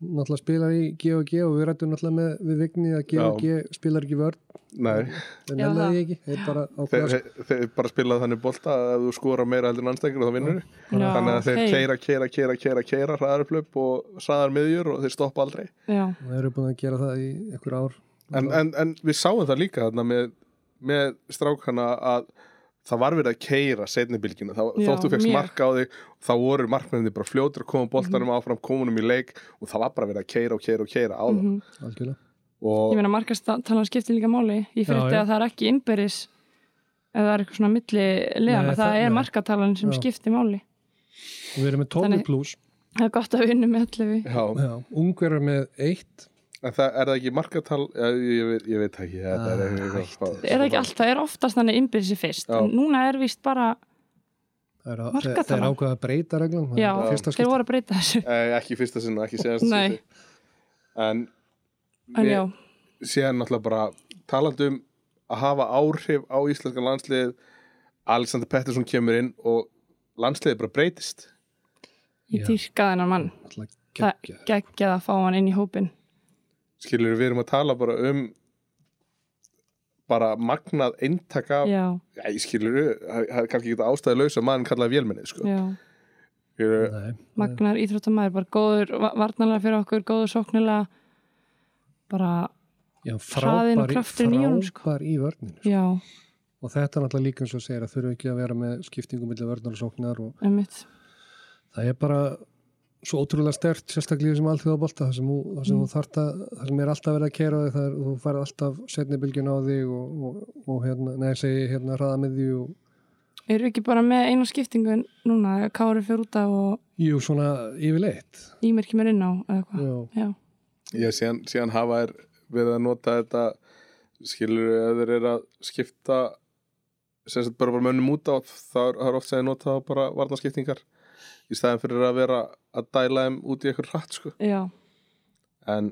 náttúrulega spilar í G&G og við rættum náttúrulega með við vigni að G&G spilar ekki vörn
Nei,
það
Já,
nefnaði
það.
ég ekki, þeir bara
þeir,
ákveða sko.
þeir, þeir bara spilaði þannig bolta að ef þú skora meira heldur en anstækjur þá vinnur þannig að þeir keira, keira, keira, keira, keira hraðarplöp og hraðar miðjur og þeir stoppa aldrei
Já,
og þeir eru búin að gera það í einhver ár
en, en, en við sáum það líka þarna með, með strákana að það var verið að keira setni bylginu, þá,
Já,
þóttu fegst
mjög. Mhm.
marka á þig þá voru markmenni bara fljótur að koma boltanum áfram, komunum í leik og það var bara verið að keira og keira og keira á það
mhm.
algjörlega
Ég
og
meina markastalan skiptir líka máli. Ég
Já,
frétti
já.
að það er ekki innbyrðis ef það er eitthvað svona milli leðana.
Nei,
það,
það-
er
nei.
markatalan sem
Já.
skiptir máli.
og við erum með 12
Þannig-
pluss
Það er gott að vinna með allu
já,
ungverðar með 1
en það er það ekki markatal ég, ég, veit- ég veit ekki þetta er,
Ah,
eitthvað-
hættu.
Er það ekki allt, það er oftast þannig innbyrðis í fyrst.
Já.
En núna er víst bara,
það er,
Markatalan.
það er ákveða að breyta reglan það er
já,
fyrsta
þeir
skipti.
voru að breyta þessu.
Eh, ekki í fyrsta sinna, ekki séðast
Nei.
en
En
Við-
já,
síðan náttúrulega bara talandi um að hafa áhrif á íslenska landslið Alexander Pettersson kemur inn og landsliðið bara breytist
Já.
ég dýrkaði hennar mann.
Náttúrulega
Það
geggjað.
geggjaði að fá hann inn í hópin.
skilur við erum að tala bara um bara magnað eintaka,
Já,
já, skilur við það er kannski ekki ástæði laus að maðurinn kallaði vélmenni sko.
já.
Skilurðu,
Nei,
Magnar íþróttamæður, bara góður, varnalega fyrir okkur, góður sóknilega. Bara,
já,
Hraðinn
frábær,
og
í-
krafturinn í honum, sko.
frábær í vörninu
já,
og þetta er náttúrulega líka eins og segir að þurfa ekki að vera með skiptingum millir vörnar og sóknar og
einmitt.
það er bara svo ótrúlega stert sérstaklega í þessum alþjóða bolta þar sem, þú- þar sem
Mm.
þú þart að, þar sem er alltaf verið að kera þig þar, þú færð alltaf setni bylgjun á þig og, og, og hérna, nei, segi hérna hraða með því og
Eru ekki bara með eina skiptingu núna, Kári fyrir út af og
jú, svona yfirleitt
Ímerki mér inn á eða hvað?
já,
Já,
já, síðan, síðan hafa er við að nota þetta skilur við að þeir eru að skipta sem sagt bara bara mönnum út á það er, það er oft sem þeir nota þá bara varnaskiptingar í staðin fyrir að vera að dæla þeim út í eitthvað hratt sko
já,
en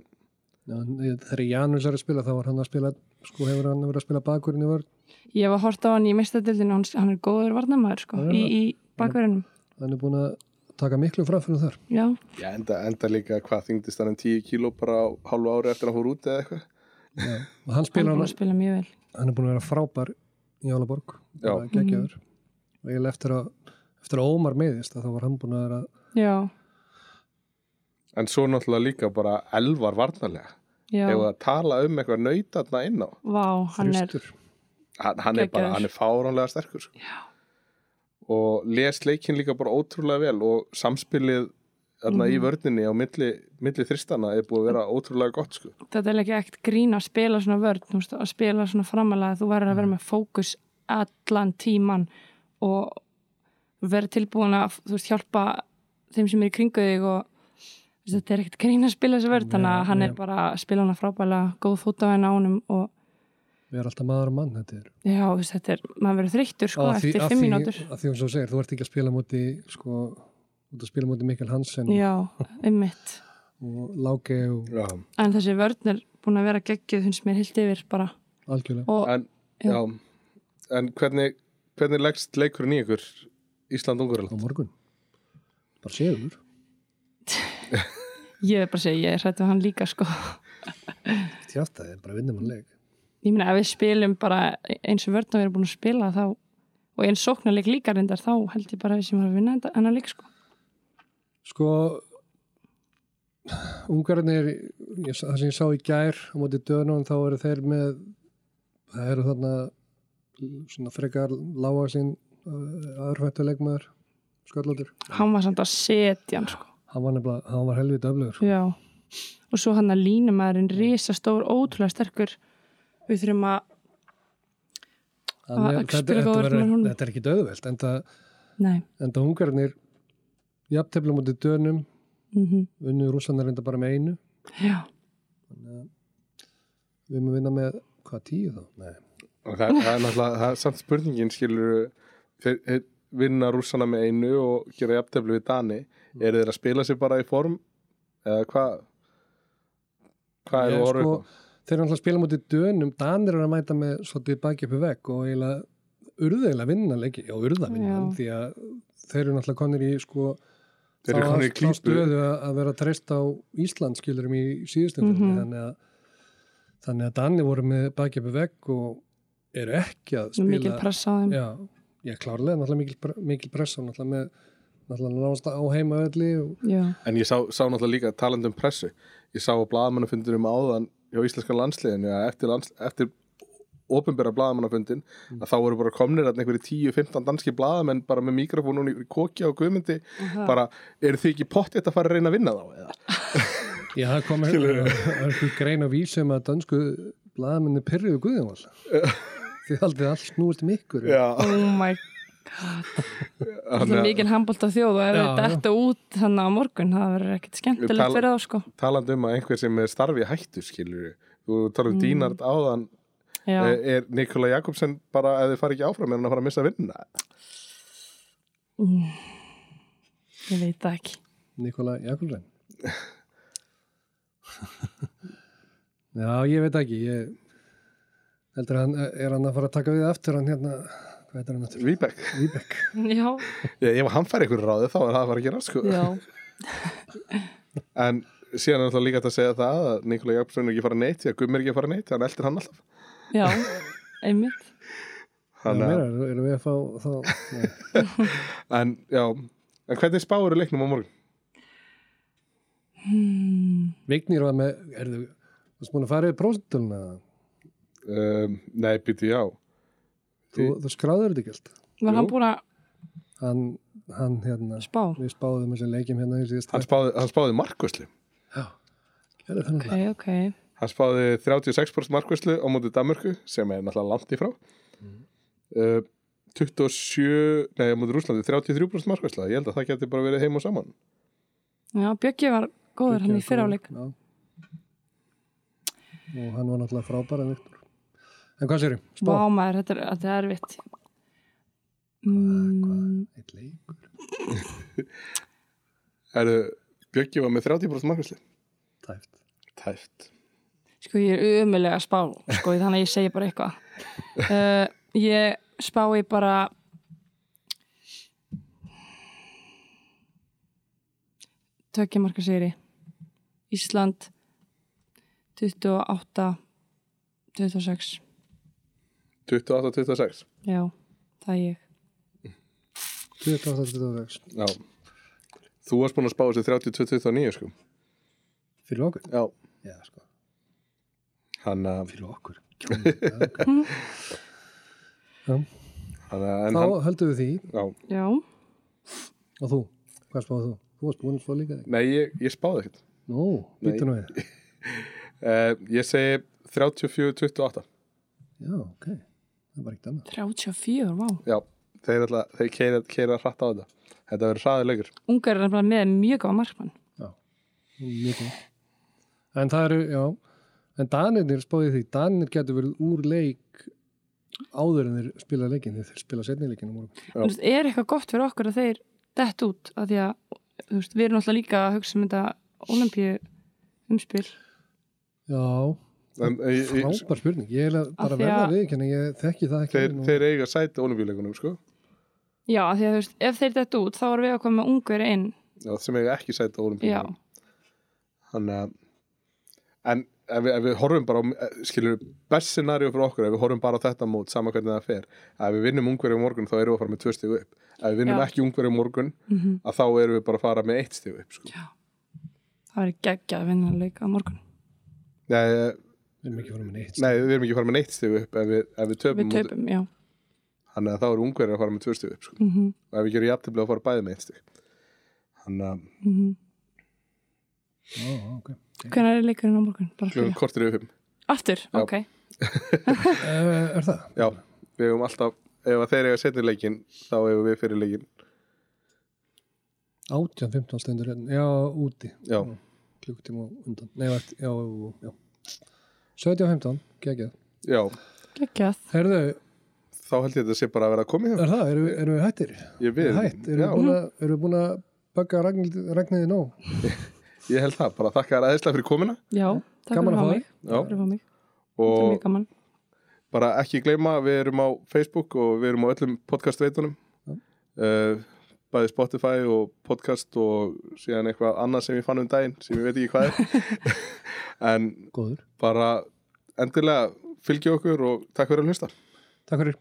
já en eh, þegar Janus er að spila þá var hann að spila sko hefur hann verið að spila bakurinn í vörn
ég var hort á hann í mistadildinu, hann, hann er góður varnamæður sko,
Já, já.
í, í bakverðinum.
hann er búin að taka miklu framfyrir þar
Já,
já, enda, enda líka hvað þyngdist hann en 10 kíló bara á hálfu ári eftir að hann fór út eða eitthvað
já. og hann
hann er
spila
búin
hann
að spila mjög vel.
hann er búin að vera frábær í Álaborg
Já.
bara geggjaður og ég eftir að, eftir að Ómar meðist að þá var hann búin að vera
Já,
en svo náttúrulega líka bara elvar varnarlega
já,
ef að tala um eitthvað nautatna inn á
vá, hann er,
þrjustur
hann, hann er bara,
Geggjaður.
hann er fáránlega sterkur sko. og les leikin líka bara ótrúlega vel og samspilið þarna í vörninni á milli, milli þristana er búið að vera ótrúlega gott sko.
þetta er ekki ekkert grín að spila svona vörn, þú veist, að spila svona framalega, þú verður að
Mm.
vera með fókus allan tíman og verður tilbúin að, þú veist, hjálpa þeim sem er í kringu þig og þú veist, þetta er ekkert grín að spila þessu vörn, þannig
Já,
að hann
já.
er bara að spila hana frábælega, góð fót á henni ánum og
við erum alltaf maður og mann þetta er
Já, þú veist, þetta er, maður verður þreyttur sko
Að því-
eftir
að
fimm
því-
mínútur.
að því hún svo segir, þú ert ekki að spila múti sko, út að spila múti Mikkel Hansen
Já, einmitt.
og Láge og
já.
En þessi vörn er búin að vera geggjuð, finnst mér heilt yfir bara.
algjörlega
Og
En, já. en hvernig, hvernig leggst leikurinn í ykkur
á
Ísland-Ungarland?
morgun bara séður
ég er bara að segja, ég er hrættu hann líka sko.
tjátt að þið, bara vinnum hann leik
Ég meina, ef við spilum bara eins og vörn og við erum búin að spila þá og eins sóknarleik líka reyndar þá held ég bara að við sem erum að vinna þetta annar leik sko.
sko ungarnir ég, það sem ég sá í gær á móti dönum þá eru þeir með það eru þarna svona frekar lága sín aðurfættu leikmaður sköllóttur
Hann var samt að setja hann sko.
hann var nefnilega, hann var helvið döflegur
Já. Og svo hann að línumæðurinn risastór, ótrúlega sterkur. Við þurfum að,
Hann er-
Að
þetta,
spila
þetta,
góður
verður-
með honum.
þetta er ekki döðveld en það,
nei,
en það ungarnir jafntefla á móti dönum
mhm,
unnu rússanar reynda bara með einu
já,
Þannig að við erum að vinna með, hvað, tíu þá? Nei.
Og það, það er náttúrulega, það er samt spurningin skilur þeir þeir vinna rússana með einu og gera jafntefli við Dani eru þeir að spila sér bara í form eða hvað hvað
Ég,
er orðið sko,
þeir eru alltaf að spila mútið dönum, Danir eru að mæta með svolítið baki upp í vegg og eiginlega urðeila vinna leiki, já urða vinna
Já.
hann, því að þeir eru alltaf konir í sko
Þeir eru
þá-
komnir í
þá
klípu.
stöðu að að vera treyst á Ísland skilurum í síðustum mm
Mhm.
þannig að þannig að Danir voru með baki upp í vegg og eru ekki að spila
mikil press á þeim
Já, ég klárlega, náttúrulega mikil, pre- mikil pressa náttúrulega með náttúrulega náðast á heimavelli og
Já.
en ég sá, sá náttúrulega líka talandi um pressu ég sá á blaðamannafundinum um áðan hjá íslenska landsliðinu að eftir, lands, eftir ofinbera blaðamannafundin
Mm.
að þá voru bara komnir að einhverju 10-15 danski blaðamenn bara með mikrofónun í kokja og guðmyndi bara eru þið ekki pottið að fara að reyna að vinna þá eða
Já, það kom hérna einhver grein á vísum að dansku blaðamenni pyrruðu guðumál. Þið haldið allt snúist um ykkur.
já,
Oh my Það er
þannig að-
mikil handbólt á þjóð og ef
Já,
þetta
já.
ertu út þannig á morgun það verður ekkit skemmtilegt
Tala-
fyrir þá sko
talandi um að einhver sem er starfi í hættu skilur þú talar um dýnart áðan
Mm. Já,
eh, er Nikola Jakobsen bara ef þið fara ekki áfram er hann að fara að missa vinna
ég veit það ekki
Nikola Jakobsen. Já, ég veit ekki. Ég heldur hann, er hann að fara að taka við aftur hann hérna, hvað heitir hann aftur?
Víbek,
Víbek.
Já,
ég, ef hann fær einhver ráði þá er það að fara að gera sko
já,
en síðan er það líka hægt að segja það að Nikola Jakobsen er ekki að fara neitt því að Gumm er ekki að fara neitt hann eldir hann alltaf
já, einmitt
Það
Þannig
meira,
að-
erum við að fá þá? Nei.
en já, en hvernig spáur eru leiknum á morgun?
Hmm.
Vignir var með, er þú, varst búin að fara yfir prósentulina?
Um, nei, býti já
Þú, þú skráður þetta ekki allt.
Var hann
Jú.
búin að
Hann, hann hérna,
spá?
við spáðum þessum leikjum hérna í síðast.
hann spáði, hann spáði markvæslu
Já, gerði það
Ok,
náttúrulega.
ok,
Hann spáði 36% markvæslu á móti Danmörku sem er náttúrulega langt í frá. Uh, 27, nei, á móti Rúslandi 33% markvæslu. Ég held að það geti bara verið heim og saman.
já, Bjöggi var góður hann í fyrráleik
Já. Og hann var náttúrulega frábæra Viktor. En hvað sér ég? Spá?
Vá maður, þetta er, þetta er erfitt mm,
Eitt leik.
Er, Bjöggi var með 30% markvæslu.
Tæft.
Tæft.
Sko ég er umulega að spá sko, þannig að ég segi bara eitthvað uh, Ég spá ég bara Tökja marka sigri Ísland 28 26
28-26.
Já, það er ég
28-26.
Já. Þú varst búin að spá þessu 32-29 sko.
Fyrir okkur?
Já.
Já, sko.
Hann, eh, að-
Fyrir okkur. Já, ok. Já.
hann, að- en
Þá
hann,
höldum við því.
já.
Já,
Og þú? Hvað spáðu þú? Þú varst búin að spá líka þig.
Nei, ég, ég spáði ekkert.
Nú,
Nei.
býttu nú við.
Uh, ég segi 34-28.
Já, ok. Það var ekkert annað.
34, vá
Já. Þeir, ætla, þeir keira, keira hratt á þetta. Þetta verður hraðilegur.
Ungar er nefnilega með mjög góða markmann
Já. Mjög góð. En það eru, já. En Danirnir spáði því. Danir getur verið úr leik áður en þeir spila leikin. Þeir- Þeir spila setni leikin á morgun.
Já.
Þú veist, er eitthvað gott fyrir okkur að þeir dett út af því að þú veist, við erum alltaf líka að hugsa um þetta olimpíu umspil
Já,
En, ég, ég,
frábær spurning. Ég er eiginlega bara
Af því
að verða
að-
við, kynna, ég þekki það ekki.
þeir,
nú.
þeir eiga sæti olimpíuleikunum sko
já af því að þú veist ef þeir dett út þá erum við að koma með ungveri inn
já, sem eiga ekki sæti
já,
olimpíuleikunum þannig að eh, en ef við, ef við horfum bara á eh, skilur best scenario fyrir okkur ef við horfum bara á þetta mót sama hvernig það fer ef við vinnum ungverju morgun þá erum við að fara með tvö stíu upp ef við vinnum
Já.
ekki ungverju morgun
Mhm.
að þá erum við bara að fara með eitt stíu upp sko.
það verður geggjað að vinna leik á morgun
nei, eh,
Við erum ekki fórum með neitt.
nei, við erum ekki að fara með eitt stíu upp ef við, ef við töpum
við
móti-
töpum, já
þannig að þá eru ungverju að fara með tvö stíu upp sko.
mm -hmm,
og ef við gerum jafntefli að fara bæði með eitt stíu þannig að
Ó, ok.
hvernig Mhm. er leikurinn á morgun? Bara
klukkan
fyrir.
kortir yfir fimm.
aftur,
Já.
ok
Uh, er það?
Já, við hefum alltaf ef að þeir eiga setni leikin, þá hefum við fyrir leikin
18-15 stendur hérna. Já, úti.
Já,
klukkutíma á undan Nei, vart, já, já 17 og 15, geggjað
Já,
Gekkjað.
Herðu,
þá held ég að þetta sé bara að vera að koma hjá
er það, erum við, erum við hættir?
Ég við,
Hætt, erum
já,
við búin að, erum við búin að bögga Ragnild- Ragnhildi nóg?
ég held það, bara þakka þér aðeinslega fyrir komina
Já, takk
Gaman
fyrir
að fá
að fá mig.
Já,
Takk fyrir að fá mig. Þetta er
og
mjög gaman.
bara ekki gleyma, við erum á Facebook og við erum á öllum podcastveitunum uh, bæði Spotify og podcast og síðan eitthvað annað sem ég fann um daginn sem ég veit ekki hvað er en
Góður
bara endilega fylgja okkur og takk fyrir að hlusta
Takk fyrir